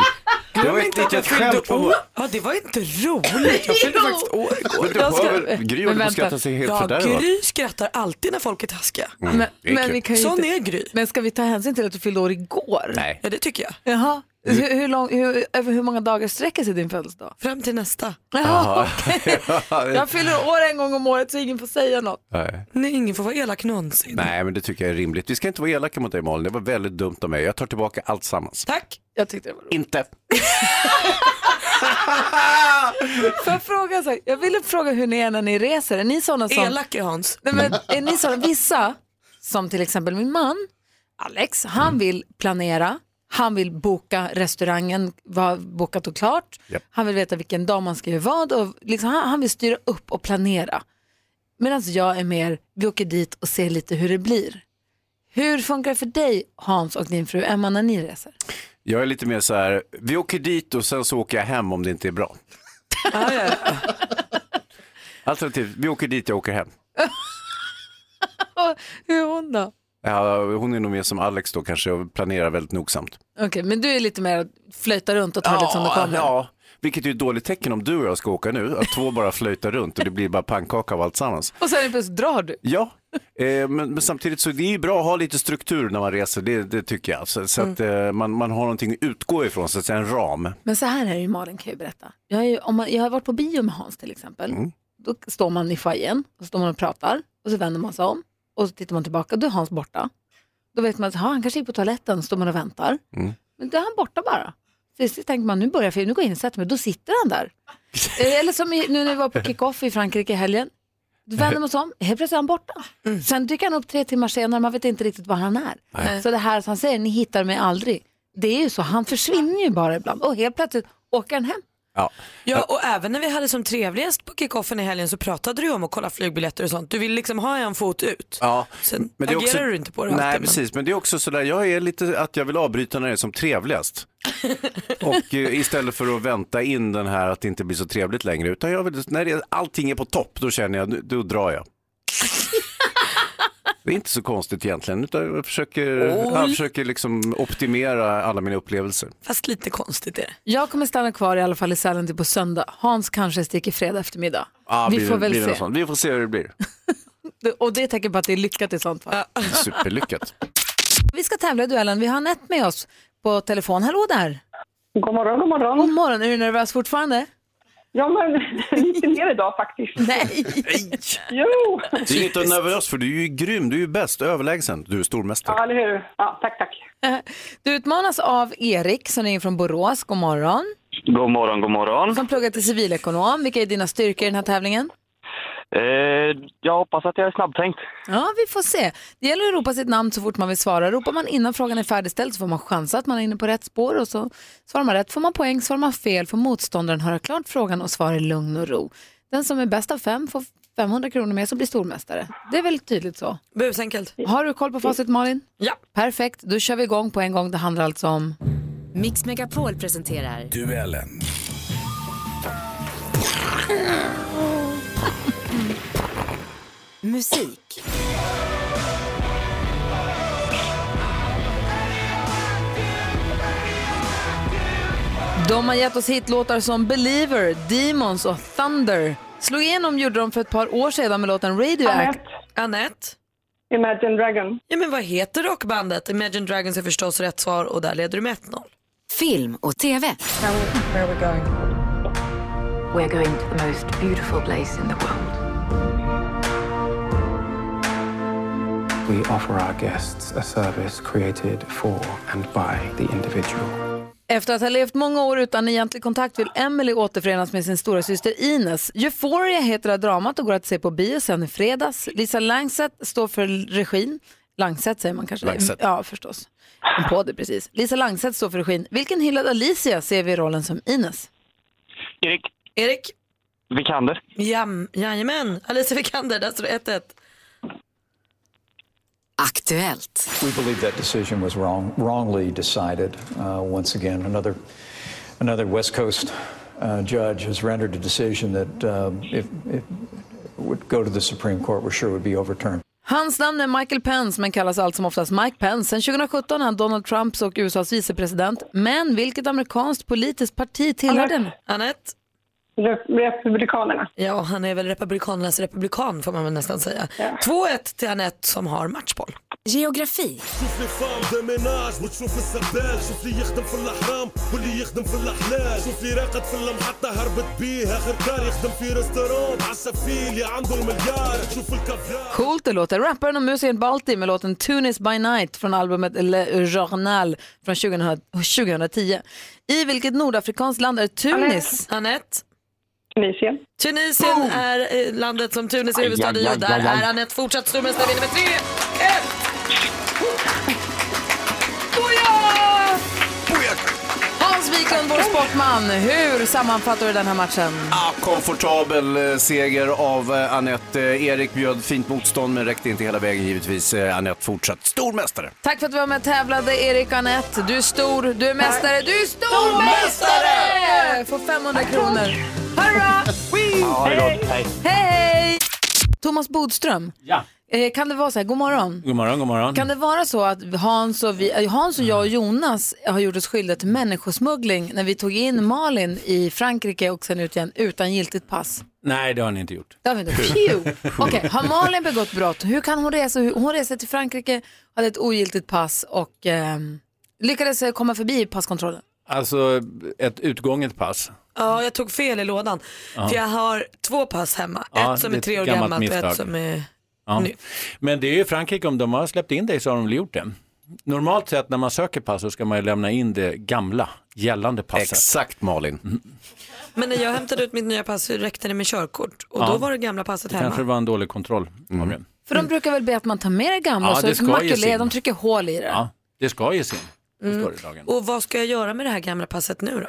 Speaker 3: Det var ett litet skämt på mig.
Speaker 2: Ja, det var inte roligt. Jag fyllde faktiskt år
Speaker 3: Men
Speaker 2: igår.
Speaker 3: du
Speaker 1: Jag ska-
Speaker 3: hör väl, Gry håller på
Speaker 1: vänta.
Speaker 3: att skratta sig helt
Speaker 2: Ja,
Speaker 3: fördärvad.
Speaker 2: Gry skrattar alltid när folk är taskiga.
Speaker 3: Mm,
Speaker 1: Men,
Speaker 3: det är
Speaker 1: men,
Speaker 3: kul.
Speaker 1: vi kan ju
Speaker 2: Sån
Speaker 1: inte...
Speaker 2: är Gry.
Speaker 1: men ska vi ta hänsyn till att du fyllde år igår?
Speaker 3: Nej.
Speaker 2: Ja, det tycker jag.
Speaker 1: Jaha. Hur, hur lång, hur, över hur många dagar sträcker sig din födelsedag?
Speaker 2: Fram till nästa.
Speaker 1: Jaha, okej. Jag fyller år en gång om året så ingen får säga något.
Speaker 3: Nej.
Speaker 2: Nej, ingen får vara elak någonsin.
Speaker 3: Nej, men det tycker jag är rimligt. Vi ska inte vara elaka mot dig Malin. Det var väldigt dumt av mig. Jag tar tillbaka allt sammans.
Speaker 2: Tack.
Speaker 1: Jag tyckte det var roligt.
Speaker 3: Inte.
Speaker 1: Får jag fråga en sak? Jag ville fråga hur ni är när ni reser. Är ni sådana som...
Speaker 2: Elak är Hans.
Speaker 1: Nej, men, är ni sådana, vissa, som till exempel min man, Alex,
Speaker 3: Mm.
Speaker 1: han vill planera, han vill boka restaurangen, vad bokat och klart.
Speaker 3: Japp.
Speaker 1: Han vill veta vilken dag man ska göra vad och liksom, han, han vill styra upp och planera. Medan jag är mer, vi åker dit och ser lite hur det blir. Hur funkar det för dig, Hans och din fru Emma, när ni reser?
Speaker 3: Jag är lite mer så här, vi åker dit och sen så åker jag hem om det inte är bra.
Speaker 2: Ja, ja, ja.
Speaker 3: Alternativt, vi åker dit, jag åker hem.
Speaker 1: Hur är hon då?
Speaker 3: Ja, hon är nog mer som Alex då kanske och planerar väldigt nogsamt.
Speaker 1: Okej, men du är lite mer att flöjta runt och ta det som det kommer.
Speaker 3: ja, vilket är ett dåligt tecken om du och jag ska åka nu, att två bara flöjtar runt och det blir bara pannkaka av allt sammans.
Speaker 1: Och sen är det plötsligt drar du.
Speaker 3: Ja, eh, men, men samtidigt så det är ju bra att ha lite struktur när man reser, det, det tycker jag. Så,
Speaker 1: Mm.
Speaker 3: så att eh, man, man har någonting att utgå ifrån, så att säga en ram.
Speaker 1: Men så här är det ju Malin kan jag ju berätta. Jag, är ju, om man, jag har varit på bio med Hans till exempel. Då står man i foajén och så står man och pratar och så vänder man sig om och så tittar man tillbaka då är Hans borta. Då vet man att "Ha, han kanske gick på toaletten, står man och väntar. Men då är han borta bara. Så, så tänker man nu börjar filmen, nu går jag in och sätter mig, då sitter han där. Eh, Eller som i, nu när vi var på kick-off i Frankrike i helgen. Då vänder man sig om, helt plötsligt är han borta. Sen dyker han upp tre timmar senare, man vet inte riktigt var han är. Så det här som han säger, ni hittar mig aldrig. Det är ju så, han försvinner ju bara ibland och helt plötsligt åker han hem.
Speaker 3: Ja.
Speaker 2: ja, och även när vi hade som trevligast på kickoffen i helgen så pratade du ju om att kolla flygbiljetter och sånt. Du vill liksom ha en fot ut.
Speaker 3: Ja,
Speaker 2: Sen agerar du inte på det
Speaker 3: Nej,
Speaker 2: alltid, men-
Speaker 3: precis. Men det är också sådär, jag är lite att jag vill avbryta när det är som trevligast. Och eh, istället för att vänta in den här att det inte blir så trevligt längre, utan jag vill, när det, allting är på topp, då känner jag, nu- då drar jag. Det är inte så konstigt egentligen, utan jag försöker, jag försöker liksom optimera alla mina upplevelser.
Speaker 2: Fast lite konstigt är det.
Speaker 1: Jag kommer stanna kvar i alla fall i Sälen till på söndag. Hans kanske sticker fredag eftermiddag.
Speaker 3: Ah,
Speaker 1: vi
Speaker 3: blir
Speaker 1: får
Speaker 3: det-
Speaker 1: väl
Speaker 3: blir det något
Speaker 1: se.
Speaker 3: sånt? Vi får se hur det blir.
Speaker 1: Och det är tecken på att det är lyckat i sånt fall.
Speaker 3: Superlyckat.
Speaker 1: Vi ska tävla i duellen. Vi har Anette med oss på telefon. Hallå där!
Speaker 7: God morgon, god
Speaker 1: God
Speaker 7: morgon.
Speaker 1: morgon, är du nervös fortfarande?
Speaker 7: Ja, men lite mer idag faktiskt.
Speaker 1: Nej!
Speaker 7: Jo!
Speaker 3: Det är inget att vara nervös för, du är ju grym, du är ju bäst, överlägsen, du är stormästare.
Speaker 7: Ja, eller hur? Ja, tack, tack.
Speaker 1: Du utmanas av Erik som ringer från Borås. God morgon.
Speaker 8: God morgon, god morgon.
Speaker 1: Som pluggar till civilekonom. Vilka är dina styrkor i den här tävlingen?
Speaker 8: Eh, jag hoppas att jag är snabbtänkt.
Speaker 1: Ja, vi får se. Det gäller att ropa sitt namn så fort man vill svara. Ropar man innan frågan är färdigställd så får man chansa att man är inne på rätt spår och så svarar man rätt får man poäng, svarar man fel får motståndaren höra klart frågan och svara i lugn och ro. Den som är bäst av fem får 500 kronor med som blir stormästare. Det är väl tydligt så?
Speaker 2: Busenkelt.
Speaker 1: Har du koll på facit Malin? Ja. Perfekt, då kör vi igång på en gång. Det handlar alltså om...
Speaker 9: Mix Megapol presenterar
Speaker 10: Duellen.
Speaker 9: musik.
Speaker 1: De har gett oss hitlåtar som Believer, Demons och Thunder. Slog igenom gjorde de för ett par år sedan med låten Radioact.
Speaker 2: Annette?
Speaker 7: Imagine Dragon.
Speaker 2: Ja, men vad heter rockbandet? Imagine Dragons är förstås rätt svar och där leder du med 1-0.
Speaker 9: Film och TV.
Speaker 11: Where are we going? We're going to the most beautiful place in the world.
Speaker 12: We offer our guests a service created for and by the individual.
Speaker 1: Efter att ha levt många år utan egentlig kontakt vill Emily återförenas med sin stora syster Ines. Euphoria heter det här dramat och går att se på bio sen i fredags. Lisa Langset står för regin. Langset säger man kanske?
Speaker 13: Langset.
Speaker 1: Ja, förstås. Kom på det precis. Lisa Langset står för regin. Vilken hyllad Alicia ser vi i rollen som Ines?
Speaker 8: Erik
Speaker 2: Erik?
Speaker 8: Vikander.
Speaker 2: Jam, jajamän, Alicia Vikander, där står det 1-1.
Speaker 9: Aktuellt.
Speaker 14: We believe that decision was wrong, wrongly decided. Uh, once again, another, another West Coast uh, judge has rendered a decision that, um, if, if it would go to the Supreme Court, we're sure would be overturned.
Speaker 1: Hans namn är Michael Pence men kallas allt som oftast Mike Pence. Sen 2017 är han Donald Trumps och USAs vicepresident. Men vilket amerikanskt politiskt parti tillhör den?
Speaker 2: Anette?
Speaker 7: Republikanerna.
Speaker 2: Ja, han är väl republikanernas republikan får man väl nästan säga. 2-1 till Anette som har matchboll.
Speaker 9: Geografi.
Speaker 15: شوف لي فام دا ميناج وتشوف السبال شوف لي يخدم في الحرام واللي يخدم في الحلال شوف لي راقد في المحطة هربت بيه آخر كار يخدم في ريستورون عشا فيه اللي عنده المليار شوف الكافيار
Speaker 1: Coolt det låter. Rapparen och musikern Balti med låten Tunis by Night från albumet Le Journal från 2000 2010. I vilket nordafrikanskt land är Tunis?
Speaker 2: Anette?
Speaker 7: Tunisien.
Speaker 2: Tunisien
Speaker 16: Oh.
Speaker 2: är eh, landet som Tunis är huvudstad i
Speaker 1: Aj, aj,
Speaker 2: och där
Speaker 1: aj, aj.
Speaker 2: är Anette fortsatt stormästare vinner med 3
Speaker 1: Hans Wiklund, vår sportman. Hur sammanfattar du den här matchen?
Speaker 3: Ah, komfortabel eh, seger av eh, Anette. Eh, Erik bjöd fint motstånd men räckte inte hela vägen givetvis. Eh, Anette fortsatt stormästare.
Speaker 1: Tack för att du var med och tävlade, Erik och Anette. Du är stor, du är mästare, du är stormästare!
Speaker 13: Stormästare!
Speaker 1: Får 500 kronor. Hurra!
Speaker 13: Ja, det är gott. Hej.
Speaker 1: Hej! Thomas Bodström, eh, kan det vara så här, god morgon?
Speaker 16: God morgon, god morgon.
Speaker 1: Kan det vara så att Hans och, vi, eh, Hans och jag och Jonas har gjort oss skyldiga till människosmuggling när vi tog in Malin i Frankrike och sen ut igen utan giltigt pass?
Speaker 16: Nej, det har ni inte gjort.
Speaker 1: Det har vi inte. Pew! Okej, har Malin begått brott? Hur kan hon resa? Hur- Hon reste till Frankrike, hade ett ogiltigt pass och ehm, lyckades eh, komma förbi passkontrollen.
Speaker 16: Alltså, ett utgånget pass.
Speaker 2: Ja, jag tog fel i lådan.
Speaker 16: Ja.
Speaker 2: För jag har två pass hemma.
Speaker 16: Ja,
Speaker 2: ett som
Speaker 16: det
Speaker 2: är
Speaker 16: är
Speaker 2: tre år
Speaker 16: ett gammalt
Speaker 2: gammalt och ett
Speaker 16: misstag.
Speaker 2: som är...
Speaker 16: Ja.
Speaker 2: Nu.
Speaker 16: Men det är ju Frankrike, om de har släppt in dig så har de väl gjort det. Normalt sett när man söker pass så ska man ju lämna in det gamla, gällande passet.
Speaker 3: Exakt Malin.
Speaker 2: Men när jag hämtade ut mitt nya pass så räckte det med körkort. Och
Speaker 16: Ja.
Speaker 2: då var det gamla passet
Speaker 16: Det kanske
Speaker 2: hemma.
Speaker 16: var en dålig kontroll av det.
Speaker 1: För de brukar väl be att man tar med det gamla
Speaker 16: Mm. Ja,
Speaker 1: så
Speaker 16: det ska ges
Speaker 1: makulé,
Speaker 16: in.
Speaker 1: de trycker hål i det.
Speaker 16: Ja, det ska ges in. Det
Speaker 2: Mm.
Speaker 16: står det i lagen.
Speaker 2: Och vad ska jag göra med det här gamla passet nu då?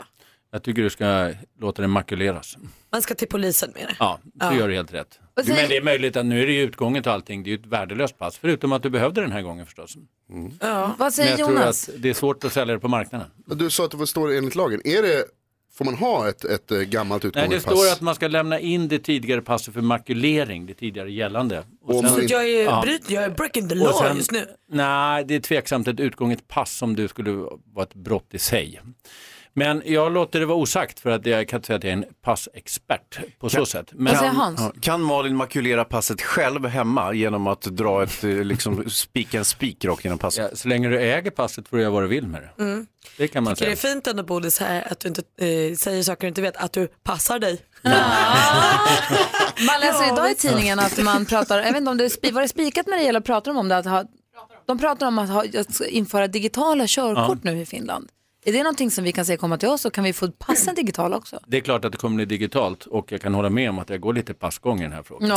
Speaker 16: Jag tycker du ska låta det makuleras.
Speaker 2: Man ska till polisen med det.
Speaker 16: Ja, du
Speaker 2: Ja.
Speaker 16: gör helt rätt.
Speaker 2: Och
Speaker 16: Du,
Speaker 2: sen-
Speaker 16: Men det är möjligt att nu är det ju utgånget och allting. Det är ju ett värdelöst pass, förutom att du behövde den här gången förstås.
Speaker 1: Vad
Speaker 16: Men
Speaker 1: säger
Speaker 16: jag tror
Speaker 1: Jonas?
Speaker 16: att det är svårt att sälja det på marknaden.
Speaker 6: Du sa att det står enligt lagen. Är det, får man ha ett, ett eh, gammalt
Speaker 16: Nej, det
Speaker 6: utgående
Speaker 16: står
Speaker 6: pass?
Speaker 16: att man ska lämna in det tidigare passet för makulering, det tidigare gällande.
Speaker 6: Om man
Speaker 2: Så att jag är,
Speaker 16: Ja.
Speaker 2: bryt, jag är breaking the
Speaker 16: Och
Speaker 2: law
Speaker 16: sen-
Speaker 2: just nu.
Speaker 16: Nej, det är tveksamt ett utgånget pass om det skulle vara ett brott i sig. Men jag låter det vara osagt för att jag kan inte säga att jag är en passexpert på så sätt. Men, Ja.
Speaker 3: Kan, kan Malin makulera passet själv hemma genom att dra ett, eh, liksom, spika en spik rakt genom passet?
Speaker 16: så länge du äger passet får du göra vad du vill med det.
Speaker 2: Mm.
Speaker 16: Det kan man
Speaker 2: Tycker det är
Speaker 16: säga.
Speaker 2: fint ändå Bodis här att du inte eh, säger saker du inte vet, att du passar dig.
Speaker 1: Man läser
Speaker 2: Ja,
Speaker 1: idag i
Speaker 2: visst.
Speaker 1: tidningen att man pratar, jag vet inte om det är spi- var det spikat när det gäller, pratar de om det? Att ha, de pratar om att, ha, att införa digitala körkort nu i Finland. Är det någonting som vi kan se komma till oss och kan vi få passen digitala också?
Speaker 16: Det är klart att det kommer bli digitalt och jag kan hålla med om att jag går lite passgång i den här frågan.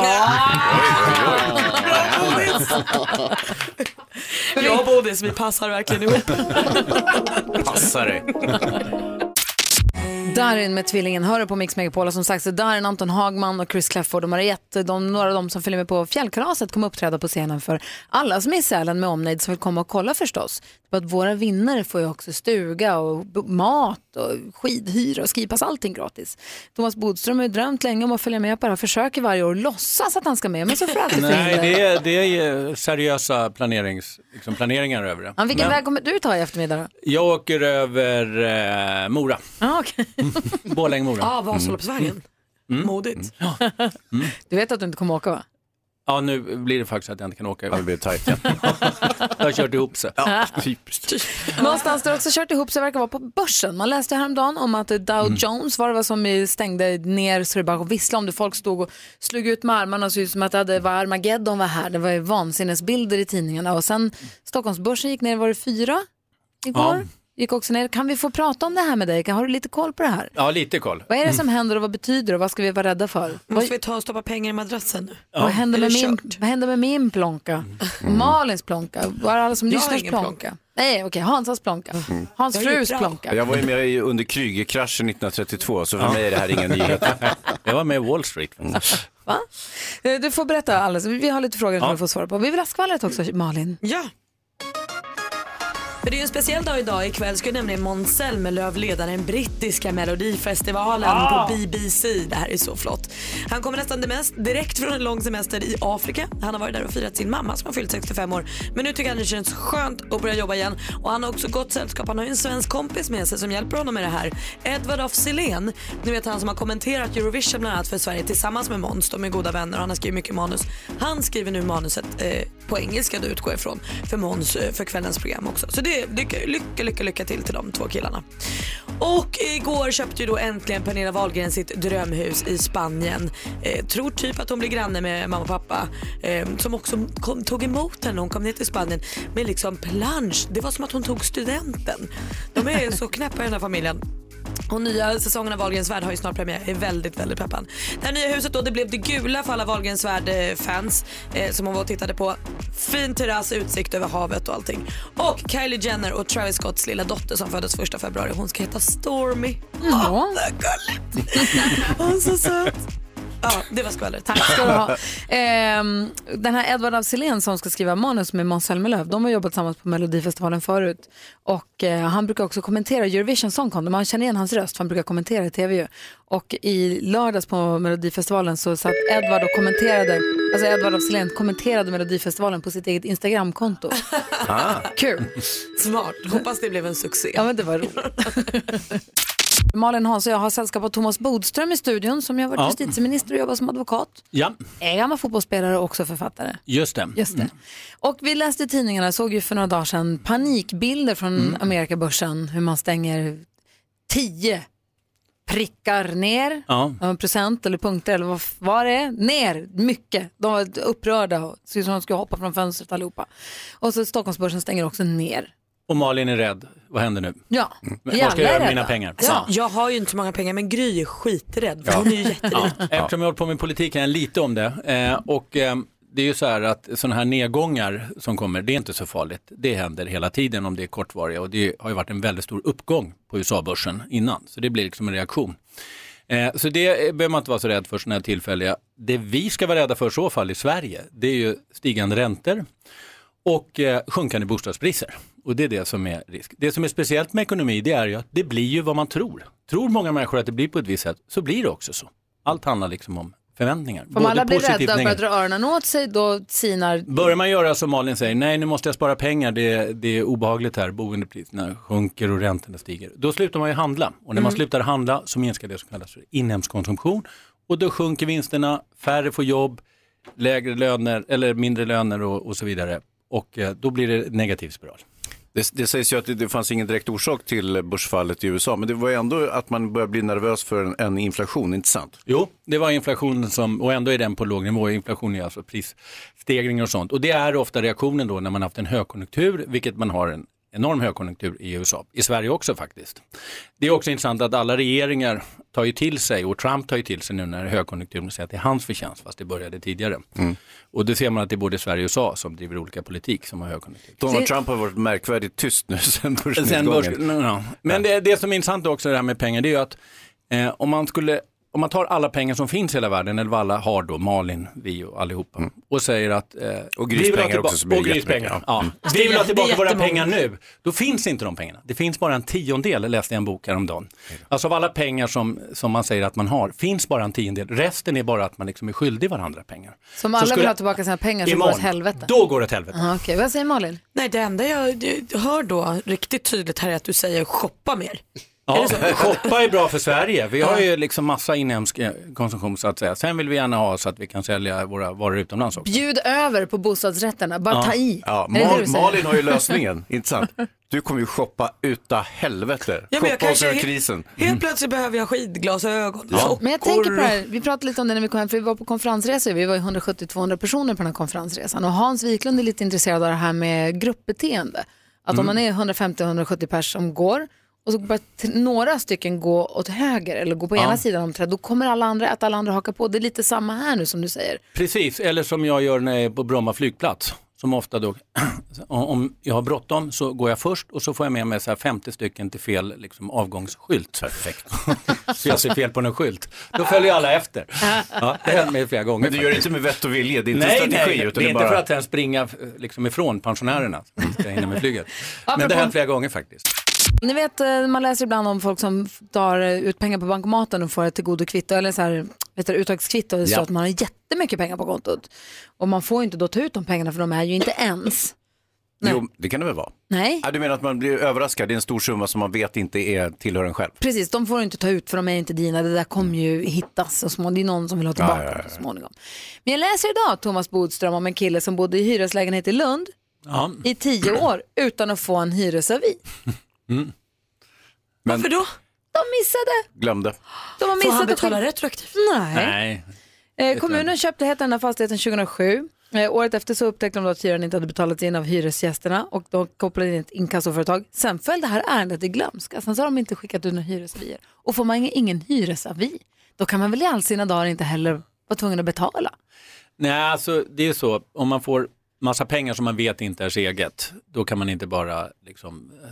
Speaker 2: Jag och Bodis, vi passar verkligen ihop.
Speaker 3: Mm.
Speaker 16: Passa dig.
Speaker 1: Darin med tvillingen hör du på Mix Megapol och som sagt så Darin, Anton Hagman och Chris Clafford och Mariette, de, några av dem som följer med på fjällkalaset kommer uppträda på scenen för alla som är i Sälen med omnejd som vill komma och kolla förstås. För att våra vinnare får ju också stuga och b- mat och skidhyra och skipass, allting gratis. Thomas Bodström har ju drömt länge om att följa med på det här, försöker varje år låtsas att han ska med men så får han aldrig
Speaker 16: Nej,
Speaker 1: förhinder.
Speaker 16: det är, det är seriösa planerings, liksom planeringar över det.
Speaker 1: Ja, vilken
Speaker 16: Men
Speaker 1: väg kommer du ta i eftermiddag då?
Speaker 16: Jag åker över eh, Mora,
Speaker 1: Ah, okay.
Speaker 16: Borlänge-Mora.
Speaker 1: Ah, Vasaloppsvägen.
Speaker 16: Mm.
Speaker 2: Modigt.
Speaker 1: Du vet att du inte kommer åka va?
Speaker 16: Ja, nu blir det faktiskt att jag inte kan åka. Ja, det blir tajt. jag har kört ihop sig.
Speaker 1: Ja,
Speaker 16: typiskt.
Speaker 1: Någonstans där också kört ihop sig verkar vara på börsen. Man läste häromdagen om att Dow
Speaker 16: Mm.
Speaker 1: Jones var det vad som stängde ner så det bara visslade om det. Folk stod och slog ut med armarna och såg ut som att det hade- var Armageddon var här. Det var ju vansinnesbilder i tidningarna. Och sen Stockholmsbörsen gick ner, var det fyra igår? Gick också ner. Kan vi få prata om det här med dig? Kan- Har du lite koll på det här?
Speaker 16: Ja, lite koll.
Speaker 1: Vad är det som händer och vad betyder det och vad ska vi vara rädda för? Vad,
Speaker 2: Måste vi ta och stoppa pengar i madrassen nu?
Speaker 1: vad, händer,
Speaker 2: Är
Speaker 1: med
Speaker 2: det
Speaker 1: min,
Speaker 2: kört?
Speaker 1: vad händer med min plånka?
Speaker 2: Mm.
Speaker 1: Malins plånka? Var alla som
Speaker 2: Jag har
Speaker 1: lyssnars
Speaker 2: ingen
Speaker 1: plånka?
Speaker 2: plånka. Mm.
Speaker 1: Nej, okej, Hansas plånka. Hans
Speaker 2: Jag är ju
Speaker 1: frus
Speaker 2: bra.
Speaker 1: plånka.
Speaker 3: Jag var ju med i- under Krügerkraschen 1932 så för mig är det här ingen nyhet.
Speaker 16: Jag var med i Wall Street.
Speaker 1: Va? Eh, Du får berätta alldeles. Vi har lite frågor som
Speaker 16: Ja.
Speaker 1: vi får svara på. Vi vill ha skvallret också, Malin.
Speaker 2: Ja. För det är ju en speciell dag idag. Ikväll ska ju nämligen Måns Zelmerlöw leda den brittiska melodifestivalen
Speaker 13: Ah.
Speaker 2: på BBC. Det här är så flott. Han kommer nästan det mest direkt från en lång semester i Afrika. Han har varit där och firat sin mamma som har fyllt 65 år. Men nu tycker han det känns skönt att börja jobba igen. Och han har också gott sällskap. Han har ju en svensk kompis med sig som hjälper honom med det här. Edvard af Sillén, ni vet han som har kommenterat Eurovision bland annat för Sverige tillsammans med Måns. De är goda vänner och han har skrivit mycket manus. Han skriver nu manuset eh, på engelska du utgår ifrån för Måns eh, för kvällens program också. Så det, det lycka, lycka, lycka till till de två killarna. Och igår köpte ju då äntligen Pernilla Wahlgren sitt drömhus i Spanien. Eh, tror typ att hon blir granne med mamma och pappa eh, som också kom, tog emot henne när hon kom ner till Spanien med liksom plansch. Det var som att hon tog studenten. De är så knäppa i den här familjen. Och nya säsongen av Wahlgrens värld har ju snart premiär. Jag är väldigt, väldigt peppad. Det här nya huset då, det blev det gula för alla Wahlgrens värld-fans eh, som hon var och tittade på. Fin terrass, utsikt över havet och allting. Och Kylie Jenner och Travis Scotts lilla dotter som föddes första februari, hon ska heta Stormy. Åh, vad gulligt! Hon så söt. Ja, det var skvallret.
Speaker 1: Tack ska du ha. Ehm, den här Edvard af Sillén som ska skriva manus med Måns Zelmerlöw, de har jobbat tillsammans på Melodifestivalen förut. Och eh, han brukar också kommentera Eurovision Song Contest, man känner igen hans röst för han brukar kommentera i tv ju. Och i lördags på Melodifestivalen så satt Edvard och kommenterade, alltså Edvard af Sillén kommenterade Melodifestivalen på sitt eget Instagramkonto. Kul.
Speaker 2: Smart. Hoppas det blev en succé.
Speaker 1: Ja men det var roligt. Malin Hans och jag har sällskap av Thomas Bodström i studion som ju har varit
Speaker 16: Ja.
Speaker 1: justitieminister och jobbat som advokat.
Speaker 16: Ja,
Speaker 1: Är gammal fotbollsspelare och också författare.
Speaker 16: just det. Mm.
Speaker 1: Just det. Och vi läste i tidningarna, såg ju för några dagar sedan panikbilder från
Speaker 16: Mm.
Speaker 1: Amerikabörsen hur man stänger tio prickar ner,
Speaker 16: Ja.
Speaker 1: ja. procent eller punkter eller vad f- var det är, ner mycket. De var upprörda och såg ut som de skulle hoppa från fönstret allihopa. Och så Stockholmsbörsen stänger också ner.
Speaker 16: Och Malin är rädd. Vad händer nu?
Speaker 1: Ja,
Speaker 16: Mm.
Speaker 1: vi
Speaker 16: Vad ska jag
Speaker 1: alla
Speaker 16: göra
Speaker 1: är
Speaker 16: med
Speaker 1: rädda.
Speaker 16: mina pengar?
Speaker 1: Ja.
Speaker 2: Jag har ju inte så många pengar men Gry är skiträdd för hon är ju jätterik.
Speaker 16: Ja, eftersom jag har hållit på med politik kan jag lite om det. Eh, och eh, det är ju så här att sådana här nedgångar som kommer, det är inte så farligt. Det händer hela tiden om det är kortvariga och det har ju varit en väldigt stor uppgång på USA-börsen innan. Så det blir liksom en reaktion. Eh, så det eh, behöver man inte vara så rädd för sådana här tillfälliga. Det vi ska vara rädda för i så fall i Sverige, det är ju stigande räntor och eh, sjunkande bostadspriser. Och det är det som är risk. Det som är speciellt med ekonomi det är ju att det blir ju vad man tror. Tror många människor att det blir på ett visst sätt så blir det också så. Allt handlar liksom om förväntningar.
Speaker 1: För om alla blir
Speaker 16: positivt och
Speaker 1: rädda och börjar
Speaker 16: negativt.
Speaker 1: dra öronen åt sig då sinar
Speaker 16: Börjar man göra som Malin säger, nej nu måste jag spara pengar, det, det är obehagligt här, boendepriserna sjunker och räntorna stiger. Då slutar man ju handla och när man
Speaker 3: Mm.
Speaker 16: slutar handla så minskar det som kallas för inhemsk konsumtion och då sjunker vinsterna, färre får jobb, lägre löner eller mindre löner och, och så vidare och eh, då blir det negativ spiral.
Speaker 3: Det, det sägs ju att det, det fanns ingen direkt orsak till börsfallet i USA, men det var ju ändå att man började bli nervös för en, en inflation, inte sant?
Speaker 16: Jo, det var inflationen som, och ändå är den på låg nivå. Inflation är alltså prisstegringar och sånt. Och det är ofta reaktionen då när man haft en högkonjunktur, vilket man har en enorm högkonjunktur i USA, i Sverige också faktiskt. Det är också intressant att alla regeringar tar ju till sig, och Trump tar ju till sig nu när det är högkonjunktur, och säger att det är hans förtjänst, fast det började tidigare. Och det ser man att det är både Sverige och USA som driver olika politik som har högkonjunktur.
Speaker 3: Donald Trump har varit märkvärdigt tyst nu sen
Speaker 16: Sen
Speaker 3: börsnedgången.
Speaker 16: börs, no, no. Men det, det som är intressant också det här med pengar, det är ju att eh, om, man skulle, om man tar alla pengar som finns i hela världen, eller vad alla har då, Malin, vi och allihopa, och säger att... Eh,
Speaker 3: Och
Speaker 16: vi vill ha
Speaker 3: grispengar
Speaker 16: tillba-
Speaker 3: också, så blir det
Speaker 16: Och grispengar,
Speaker 3: jättemycket.
Speaker 16: ja.
Speaker 3: Mm.
Speaker 16: Vi vill ha
Speaker 3: Det
Speaker 16: tillbaka
Speaker 3: är
Speaker 16: våra
Speaker 3: jättemånga.
Speaker 16: pengar nu. Då finns inte de pengarna. Det finns bara en tiondel, läste jag en bok häromdagen. Alltså av alla pengar som, som man säger att man har, finns bara en tiondel. Resten är bara att man liksom är skyldig varandra pengar.
Speaker 1: Som
Speaker 16: Så
Speaker 1: alla
Speaker 16: skulle-
Speaker 1: vill ha tillbaka sina pengar så går det
Speaker 16: Imorgon,
Speaker 1: åt helvete.
Speaker 16: Då går det åt helvete.
Speaker 1: Aha, okej. Vad säger Malin?
Speaker 2: Nej, det enda jag jag hör då riktigt tydligt här är att du säger shoppa mer.
Speaker 16: Ja,
Speaker 2: Är det så?
Speaker 16: shoppa är bra för Sverige. Vi har ju liksom massa inhemsk eh, konsumtion så att säga. Sen vill vi gärna ha så att vi kan sälja våra varor utomlands också.
Speaker 1: Bjud över på bostadsrätterna, bara ta i.
Speaker 3: Ja,
Speaker 1: Är det det
Speaker 3: Mal,
Speaker 1: du säger?
Speaker 3: Malin har ju lösningen, intressant. Du kommer ju shoppa uta helvete.
Speaker 2: Ja, men jag
Speaker 3: shoppa oss
Speaker 2: kanske
Speaker 3: ur
Speaker 2: helt-
Speaker 3: krisen.
Speaker 2: Helt plötsligt behöver jag skidglasögon.
Speaker 3: Mm. Ja.
Speaker 2: sockor.
Speaker 1: Men jag tänker på det här, vi pratade lite om det när vi kom hem, för vi var på konferensresa, vi var ju 170-200 personer på den här konferensresan och Hans Wiklund är lite intresserad av det här med gruppbeteende. Att
Speaker 10: Mm.
Speaker 1: om man är 150-170 pers som går och så börjar t- några stycken gå åt höger eller gå på
Speaker 16: Ja.
Speaker 1: ena sidan om trädet, då kommer alla andra, att alla andra hakar på. Det är lite samma här nu som du säger.
Speaker 16: Precis, eller som jag gör när jag är på Bromma flygplats. Som ofta då, om jag har bråttom så går jag först och så får jag med mig så här 50 stycken till fel liksom, avgångsskylt. Perfekt. så jag ser fel på någon skylt. Då följer alla efter. Ja, det har hänt mig flera gånger.
Speaker 3: Men du gör det
Speaker 16: faktiskt.
Speaker 3: inte med vett och vilja, det är inte
Speaker 16: nej,
Speaker 3: strategi.
Speaker 16: Nej,
Speaker 3: utan
Speaker 16: det är inte
Speaker 3: bara...
Speaker 16: för att sen springa eh, liksom, ifrån pensionärerna. så att Jag hinner med flyget. Men det
Speaker 1: Apropå-
Speaker 16: har hänt flera gånger faktiskt.
Speaker 1: Ni vet, eh, man läser ibland om folk som f- tar eh, ut pengar på bankomaten och får ett tillgodokvitto eller så här, vet du, uttagskvitto och det står
Speaker 10: Ja.
Speaker 1: att man har jättemycket pengar på kontot. Och man får ju inte då ta ut de pengarna för de är ju inte ens.
Speaker 3: Jo, det kan det väl vara?
Speaker 1: Nej.
Speaker 3: Ja, du menar att man blir överraskad, det är en stor summa som man vet inte är, tillhör en själv.
Speaker 1: Precis, de får du inte ta ut för de är ju inte dina. Det där kommer ju hittas så småningom. Det är någon som vill ha tillbaka
Speaker 3: Ja, ja, ja,
Speaker 1: det så småningom. Men jag läser idag Thomas Bodström om en kille som bodde i hyreslägenhet i Lund
Speaker 16: Ja.
Speaker 1: i tio år utan att få en hyresavi.
Speaker 3: Men
Speaker 2: Varför då?
Speaker 1: De missade.
Speaker 3: glömde.
Speaker 1: De har
Speaker 2: Får
Speaker 1: missat
Speaker 2: han
Speaker 1: att
Speaker 2: betala
Speaker 1: skicka-
Speaker 2: retroaktivt?
Speaker 1: Nej.
Speaker 2: Det
Speaker 1: Eh,
Speaker 2: tror jag
Speaker 1: kommunen köpte heta den här fastigheten 2007. Eh, året efter så upptäckte de då att hyran inte hade betalats in av hyresgästerna och de kopplade in ett inkassoföretag. Sen föll det här ärendet i glömska. Sen så har de inte skickat ut några hyresavier. Och får man ingen- ingen hyresavi, då kan man väl i all sina dagar inte heller vara tvungen att betala.
Speaker 16: Nej, alltså det är ju så, om man får massa pengar som man vet inte är ens eget, då kan man inte bara liksom, eh,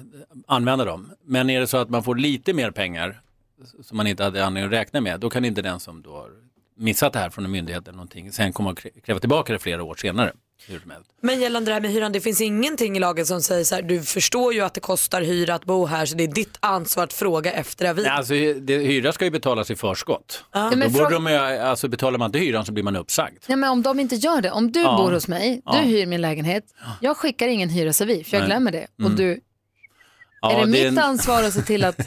Speaker 16: använda dem. Men är det så att man får lite mer pengar s- som man inte hade anledning att räkna med, då kan inte den som då har missat det här från en myndighet eller någonting, sen komma och krä- kräva tillbaka det flera år senare. Hur som helst.
Speaker 2: Men gällande det här med hyran, det finns ingenting i lagen som säger så här, du förstår ju att det kostar hyra att bo här så det är ditt ansvar att fråga efter avi.
Speaker 16: Nej, alltså, hy- det, hyra ska ju betalas i förskott.
Speaker 1: Ja.
Speaker 16: Då
Speaker 1: Ja, men
Speaker 16: borde
Speaker 1: frå-
Speaker 16: de ju, alltså, betalar man inte hyran så blir man uppsagd.
Speaker 1: Nej, men om de inte gör det, om du
Speaker 16: Ja.
Speaker 1: bor hos mig, du
Speaker 16: Ja.
Speaker 1: hyr min lägenhet, jag skickar ingen hyresavi för jag
Speaker 16: Nej.
Speaker 1: glömmer det. Och
Speaker 16: Mm.
Speaker 1: du,
Speaker 16: Ja,
Speaker 1: är det,
Speaker 16: det är
Speaker 1: mitt
Speaker 16: en-
Speaker 1: ansvar att se till att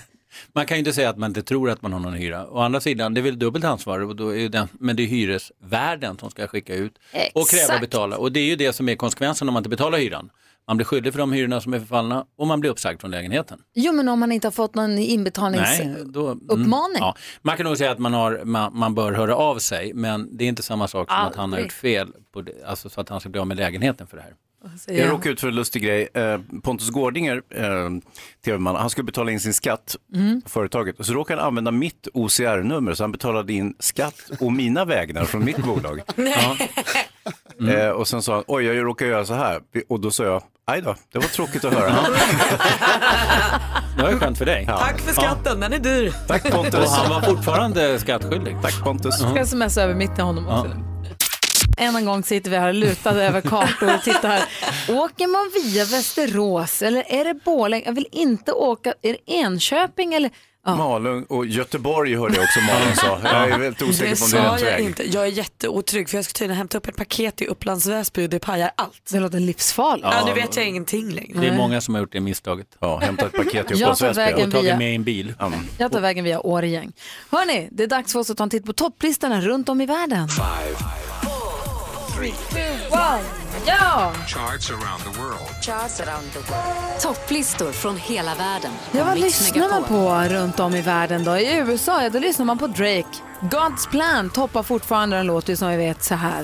Speaker 16: Man kan ju inte säga att man inte tror att man har någon hyra. Å andra sidan, det är väl dubbelt ansvar, och då är ju den, men det är hyresvärden som ska skicka ut och kräva
Speaker 1: Exakt.
Speaker 16: betala. Och det är ju det som är konsekvensen om man inte betalar hyran. Man blir skyldig för de hyrorna som är förfallna och man blir uppsagd från lägenheten.
Speaker 1: Jo, men om man inte har fått någon inbetalnings...
Speaker 16: då, mm,
Speaker 1: uppmaning.
Speaker 16: Ja. Man kan nog säga att man, har, man, man bör höra av sig, men det är inte samma sak som att han har
Speaker 1: Aldrig.
Speaker 16: gjort fel, på det, alltså så att han ska bli av med lägenheten för det här.
Speaker 1: säger
Speaker 3: Jag
Speaker 1: han?
Speaker 3: råkade ut för en lustig grej. Eh, Pontus Gårdinger, eh, tv-man, han skulle betala in sin skatt
Speaker 1: Mm.
Speaker 3: på företaget. Och så råkade han använda mitt OCR-nummer så han betalade in skatt och mina vägnar från mitt bolag. Ja.
Speaker 1: Mm.
Speaker 3: Eh, och sen sa han, oj jag råkar göra så här. Och då sa jag, aj då, det var tråkigt att höra.
Speaker 16: det var ju skönt för dig.
Speaker 2: Tack för skatten, den är dyr.
Speaker 3: Tack Pontus.
Speaker 16: Och han var fortfarande skattskyldig.
Speaker 3: Tack Pontus.
Speaker 1: Jag ska smsa över mitt till honom också.
Speaker 16: Ja.
Speaker 1: Än en gång sitter vi här lutade över kartor och tittar. Åker man via Västerås eller är det Borlänge? Jag vill inte åka. Är det Enköping eller?
Speaker 3: Malung och Göteborg hörde jag också Malung sa. Jag är väldigt osäker på om det är
Speaker 2: sa
Speaker 3: rätt
Speaker 2: jag
Speaker 3: väg.
Speaker 2: inte. Jag är jätteotrygg för jag ska tydligen hämta upp ett paket i Upplands Väsby och det pajar allt.
Speaker 1: Det låter livsfarligt.
Speaker 2: Ja, nu vet jag ingenting längre.
Speaker 16: Det är många som har gjort det misstaget.
Speaker 3: Ja, hämtat ett paket
Speaker 1: i Jag tar Upplands Väsby. vägen
Speaker 16: Och tagit
Speaker 1: via-
Speaker 16: med i en bil.
Speaker 1: Jag tar vägen via Årjäng. Hörni, det är dags för oss att ta en titt på topplistorna runt om i världen. Ja!
Speaker 13: Charts around the world.
Speaker 9: Topplistor från hela världen.
Speaker 1: Ja, vad
Speaker 9: Mix
Speaker 1: lyssnar man
Speaker 9: Megapol.
Speaker 1: på runt om i världen då? I USA, ja, då lyssnar man på Drake. God's Plan toppar fortfarande. Den låter ju som vi vet så här.
Speaker 17: I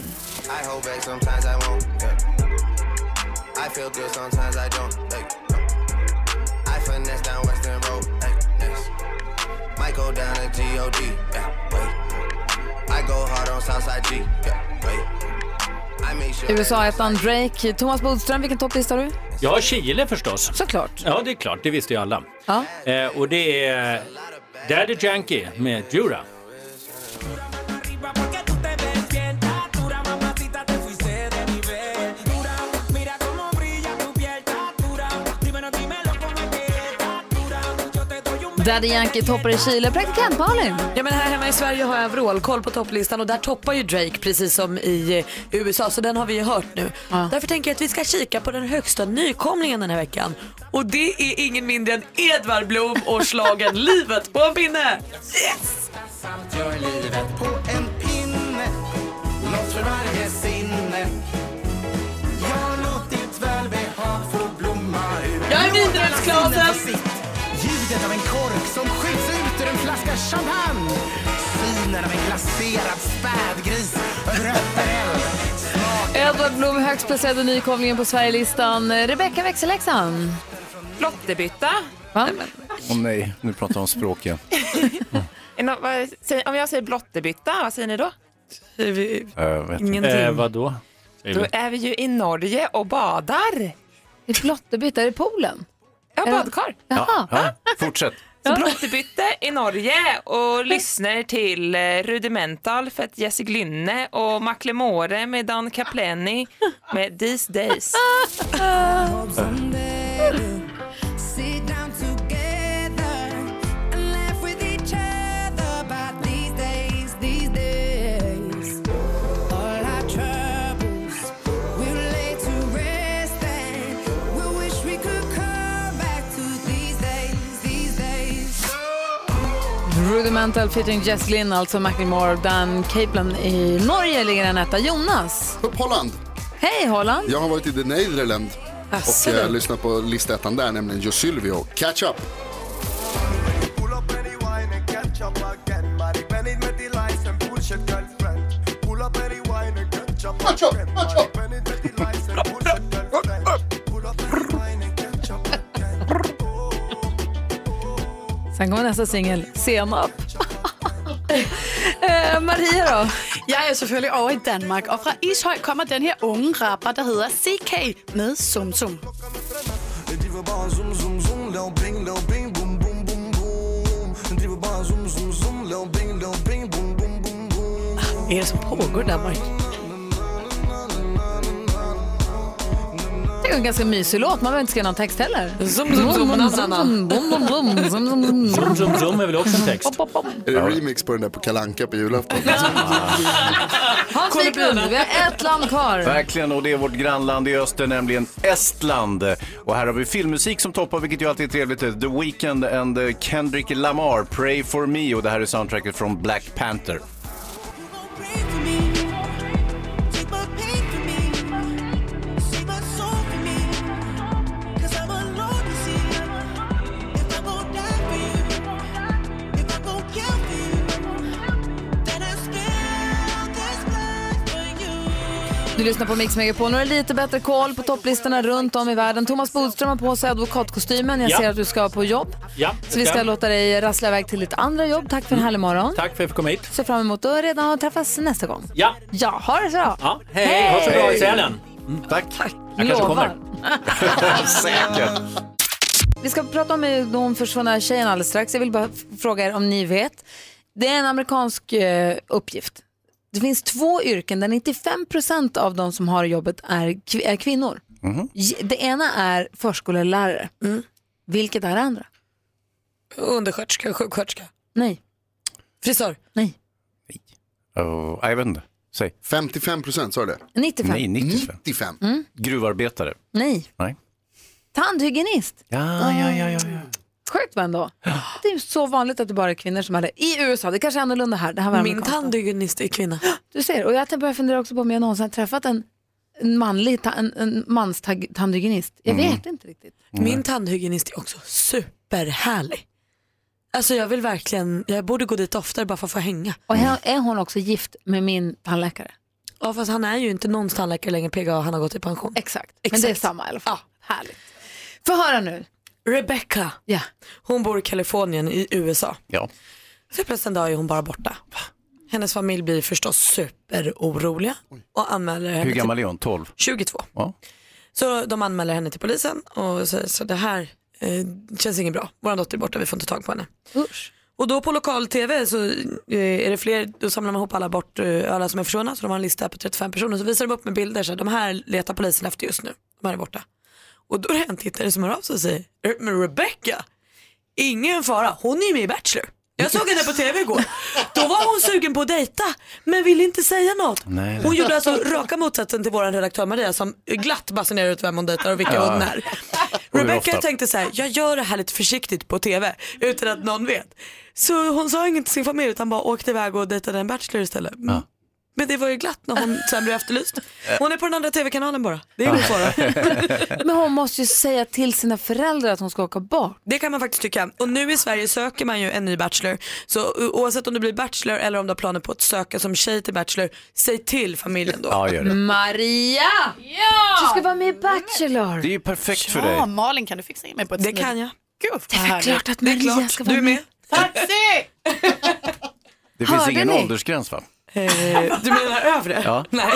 Speaker 17: hold back sometimes I won't. yeah. I feel good sometimes I don't. Like,
Speaker 4: go down to G-O-D, yeah, wait. I go hard on Southside G, yeah, wait. I make sure...
Speaker 1: USA-ettan Drake. Thomas Bodström, vilken topplista har du?
Speaker 3: Ja, Chile förstås.
Speaker 1: Såklart.
Speaker 3: Ja, det är klart. Det visste ju alla.
Speaker 1: Ja.
Speaker 3: Eh, och det är Daddy Yankee med Jura.
Speaker 1: Daddy Yankee toppar i Chile. Praktikant Malin.
Speaker 2: Ja, men här hemma i Sverige har jag vrålkoll på topplistan och där toppar ju Drake precis som i eh, USA så den har vi ju hört nu. Därför tänker jag att vi ska kika på den högsta nykomlingen den här veckan. Och det är ingen mindre än Edvard Blom och slagen Livet på en pinne. Yes!
Speaker 4: Gör livet på en pinne, nåt för varje sinne. Jag har låtit välbehag få blomma ur.
Speaker 2: Jag är Vindelälvsklasen!
Speaker 4: Ljudet av en kork som skjuts ut ur en flaska champagne. Synen av en glaserad spädgris över öppen eld.
Speaker 1: Edward Blom, högst placerade nykomlingen på Sverigelistan. Rebecka växelläxan.
Speaker 18: Lottebytta.
Speaker 1: Va?
Speaker 14: Åh nej, nu pratar jag om språk igen.
Speaker 18: Är nå- vad säger- Om jag säger blottebytta, vad säger ni då?
Speaker 14: Äh, vet
Speaker 3: Ingenting. Eh, vadå? Säger
Speaker 18: Då
Speaker 3: vi.
Speaker 18: är vi ju i Norge och badar.
Speaker 1: I blottebytta, är det poolen?
Speaker 18: Ja, badkar.
Speaker 14: Ja, ja, fortsätt.
Speaker 18: Så blottebytte i Norge och lyssnar till eh, Rudimental för att Jesse Glynne och Macklemore med Dan Capleni med These Days.
Speaker 19: Sit down together and laugh with each other about these days, these days. All our troubles we'll lay to rest and we wish we could come back to these days, these days.
Speaker 1: Rudimental featuring Jess Lynn, alltså Macklemore. Dan Caplan i Norge ligger en etta. Jonas.
Speaker 20: Holland.
Speaker 1: Hej Holland.
Speaker 20: Jag har varit i The Nederland
Speaker 1: Asså.
Speaker 20: och eh, lyssnat på listettan där, nämligen Josylvio och Catch Up.
Speaker 1: Sen kommer nästa singel, Senap. eh, Maria då?
Speaker 21: Jeg er selvfølgelig over i Danmark, og fra Ishøj kommer den her unge rapper, der hedder CK med Sum Sum.
Speaker 19: Den driver bare zoom, zoom, zoom, lav bing, lav bing, boom, boom, boom, boom. Den driver bare zoom, zoom, zoom, lav bing, lav bing, boom, boom, boom, boom.
Speaker 2: Är det som pågår där Mark?
Speaker 1: Det är en ganska mysig låt. Man behöver inte skriva någon text heller.
Speaker 2: Zum, zum, zum,
Speaker 1: Bom, bom,
Speaker 2: nanana.
Speaker 1: zum, bom, bom, bom, zum, zum, zum.
Speaker 3: Zoom, zoom, zoom är väl också en text?
Speaker 20: Är det remix på den där på Kalanka på julafton?
Speaker 1: Hans Wiklund, vi har ett land kvar.
Speaker 14: Verkligen, och det är vårt grannland i öster, nämligen Estland. Och här har vi filmmusik som toppar, vilket ju alltid är trevligt. The Weeknd and eh, Kendrick Lamar, Pray for me. Och det här är soundtracket från Black Panther.
Speaker 1: Du lyssnar på Mix Megapol. Nu har du lite bättre koll på topplistorna runt om i världen. Thomas Bodström har på sig advokatkostymen. Jag
Speaker 3: Ja.
Speaker 1: ser att du ska på jobb.
Speaker 3: Ja,
Speaker 1: Så vi ska låta dig rassla iväg till ditt andra jobb. Tack för en härlig morgon.
Speaker 3: Mm. Tack för att jag fick komma hit.
Speaker 1: Ser fram emot att redan träffas nästa gång.
Speaker 3: Ja.
Speaker 1: Ja, ha det så bra.
Speaker 3: Ja, hej! Ha så bra i Sälen. Mm.
Speaker 14: Tack.
Speaker 3: Jag kanske
Speaker 1: Lovar.
Speaker 3: kommer.
Speaker 14: Säkert.
Speaker 1: Vi ska prata om eh, de försvunna tjejerna alldeles strax. Jag vill bara f- fråga er om ni vet. Det är en amerikansk eh, uppgift. Det finns två yrken där 95 av de som har jobbet är, kv- är kvinnor.
Speaker 14: Mhm.
Speaker 1: J- Det ena är förskollärare.
Speaker 3: Mm.
Speaker 1: Vilket är det andra?
Speaker 2: Undersköterska, sjuksköterska.
Speaker 1: Nej.
Speaker 2: Frisör.
Speaker 1: Nej.
Speaker 14: Oh, jag vet inte. Säg.
Speaker 20: 55 procent, sa du det?
Speaker 1: 95.
Speaker 14: Nej, 95.
Speaker 20: 95.
Speaker 14: Gruvarbetare.
Speaker 1: Nej.
Speaker 14: Nej.
Speaker 1: Tandhygienist.
Speaker 14: Ja, ja,
Speaker 3: Ah,
Speaker 14: ja, ja.
Speaker 1: Sjukt va ändå? Det är ju så vanligt att det bara är kvinnor som har det. I USA, det kanske är annorlunda här. Det här var
Speaker 2: Min
Speaker 1: amerikanskt.
Speaker 2: tandhygienist är kvinna.
Speaker 1: Du ser, och jag börjar fundera också på om jag någonsin har träffat en, en manlig, ta, en, en mans tag- tandhygienist. Jag
Speaker 2: Mm.
Speaker 1: vet inte riktigt.
Speaker 2: Min tandhygienist är också superhärlig. Alltså jag vill verkligen, jag borde gå dit oftare bara för att få hänga.
Speaker 1: Och här är hon också gift med min tandläkare?
Speaker 2: Ja fast han är ju inte någons tandläkare längre, PGA, han har gått i pension.
Speaker 1: Exakt, men det är samma i alla fall. Härligt. Få höra nu.
Speaker 2: Rebecca,
Speaker 1: ja.
Speaker 2: hon bor i Kalifornien i USA.
Speaker 14: Ja.
Speaker 2: Så plötsligt en dag är hon bara borta. Hennes familj blir förstås superoroliga och anmäler henne
Speaker 3: Hur
Speaker 2: till
Speaker 3: gammal är hon? 12?
Speaker 2: 22.
Speaker 3: Ja.
Speaker 2: Så de anmäler henne till polisen och säger så det här eh, känns inget bra. Vår dotter är borta, vi får inte tag på henne. Och då på lokal-tv så eh, är det fler, då samlar man ihop alla, bort, eh, alla som är försvunna, så de har en lista på 35 personer. Så visar de upp med bilder, så här, de här letar polisen efter just nu, de här är borta. Och då är det en tittare som hör av sig och säger, "Eh, men Rebecca, ingen fara, hon är ju med i Bachelor. Jag såg henne på tv igår. Då var hon sugen på att dejta, men ville inte säga något.
Speaker 10: Nej.
Speaker 2: Hon gjorde alltså raka motsatsen till vår redaktör Maria som glatt basunerar ut vem hon dejtar och vilka
Speaker 10: Ja.
Speaker 2: hon är.
Speaker 10: Och hur
Speaker 2: Rebecca
Speaker 10: ofta.
Speaker 2: tänkte så här, jag gör det här lite försiktigt på tv utan att någon vet. Så hon sa inget till sin familj utan bara åkte iväg och dejtade en bachelor istället.
Speaker 3: Ja.
Speaker 2: Men det var ju glatt när hon sen blev efterlyst. Hon är på den andra tv-kanalen bara. Det är ingen fara.
Speaker 1: Men hon måste ju säga till sina föräldrar att hon ska åka bort.
Speaker 2: Det kan man faktiskt tycka. Och nu i Sverige söker man ju en ny Bachelor. Så o- oavsett om du blir Bachelor eller om du har planer på att söka som tjej till Bachelor, säg till familjen då.
Speaker 3: Ja, gör det.
Speaker 1: Maria!
Speaker 22: Ja!
Speaker 1: Du ska vara med i Bachelor.
Speaker 3: Det är ju perfekt för
Speaker 22: Ja,
Speaker 3: dig.
Speaker 22: Malin kan du fixa in mig på ett
Speaker 2: Det kan jag.
Speaker 22: Gud,
Speaker 1: Det är väl klart att Maria ska vara
Speaker 2: Du är med.
Speaker 22: Taxi!
Speaker 3: Det finns
Speaker 1: Hörde
Speaker 3: ingen
Speaker 1: ni?
Speaker 3: åldersgräns va?
Speaker 2: du menar övre?
Speaker 3: Ja.
Speaker 2: Nej.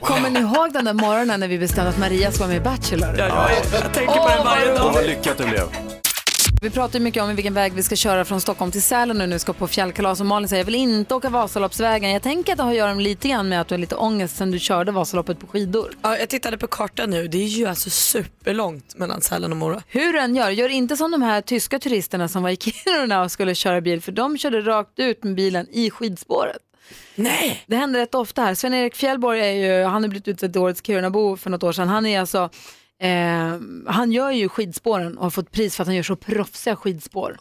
Speaker 1: Kommer ni ihåg den där morgonen när vi bestämde att Maria ska vara med i Bachelor?
Speaker 2: Ja, jag tänker på den varje
Speaker 3: Och vad
Speaker 2: dag.
Speaker 3: lyckat det blev.
Speaker 1: Vi pratar ju mycket om vilken väg vi ska köra från Stockholm till Sälen och nu ska på fjällkalas och Malin säger jag vill inte åka Vasaloppsvägen. Jag tänker att det har att göra med lite grann med att du har lite ångest sen du körde Vasaloppet på skidor.
Speaker 2: Ja, jag tittade på kartan nu. Det är ju alltså superlångt mellan Sälen och Mora.
Speaker 1: Hur den gör, gör inte som de här tyska turisterna som var i Kiruna och skulle köra bil för de körde rakt ut med bilen i skidspåret.
Speaker 2: Nej!
Speaker 1: Det händer rätt ofta här. Sven-Erik Fjällborg är ju, han har blivit utsedd till årets Kirunabo för något år sedan. Han är alltså, eh, han gör ju skidspåren och har fått pris för att han gör så proffsiga skidspår.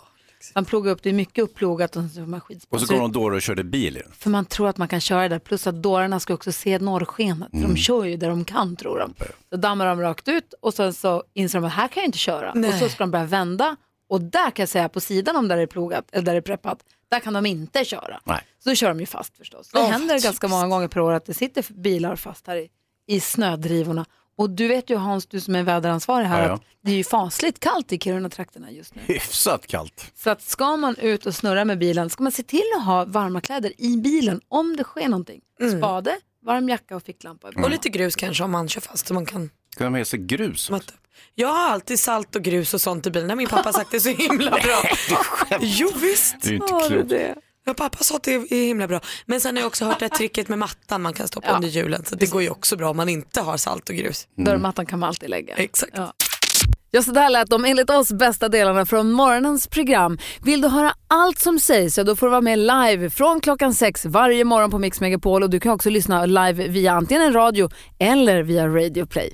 Speaker 1: Han plogar upp, det är mycket upplogat och så gör man skidspår.
Speaker 3: Och så går hon då och körde bil. igen.
Speaker 1: För man tror att man kan köra där, plus att dårarna ska också se norrskenet. för
Speaker 3: Mm.
Speaker 1: De kör ju där de kan tror de. Så dammar de rakt ut och sen så inser de att här kan jag inte köra.
Speaker 2: Nej.
Speaker 1: Och så ska de börja vända och där kan jag säga på sidan om där det är plogat, eller där det är preppat, där kan de inte köra.
Speaker 3: Nej.
Speaker 1: Så då kör de ju fast förstås. Det
Speaker 2: Åh,
Speaker 1: händer ganska många gånger per år att det sitter bilar fast här i, i snödrivorna. Och du vet ju Hans, du som är väderansvarig här,
Speaker 3: Ja, ja.
Speaker 1: att det är ju fasligt kallt i Kiruna-trakterna just nu.
Speaker 3: Hyfsat kallt.
Speaker 1: Så att ska man ut och snurra med bilen ska man se till att ha varma kläder i bilen om det sker någonting.
Speaker 10: Mm.
Speaker 1: Spade, varm jacka och ficklampa.
Speaker 2: Och lite grus kanske om man kör fast så man kan
Speaker 3: Ska de ha med sig grus?
Speaker 2: matta upp. Jag har alltid salt och grus och sånt i bilen. Det har Min pappa har sagt det är så himla bra. jo visst.
Speaker 10: Det är ju inte Har du klokt. Mm. det?
Speaker 2: Ja, pappa sa att det är himla bra. Men sen har jag också hört det här tricket med mattan man kan stoppa
Speaker 1: Ja.
Speaker 2: under hjulen. Så det går ju också bra om man inte har salt och grus.
Speaker 1: Dörrmattan kan man alltid lägga.
Speaker 2: Exakt.
Speaker 1: Ja. Ja, så där lät de enligt oss bästa delarna från morgonens program. Vill du höra allt som sägs, ja, då får du vara med live från klockan sex varje morgon på Mix Megapol. Och du kan också lyssna live via antingen en radio eller via Radio Play.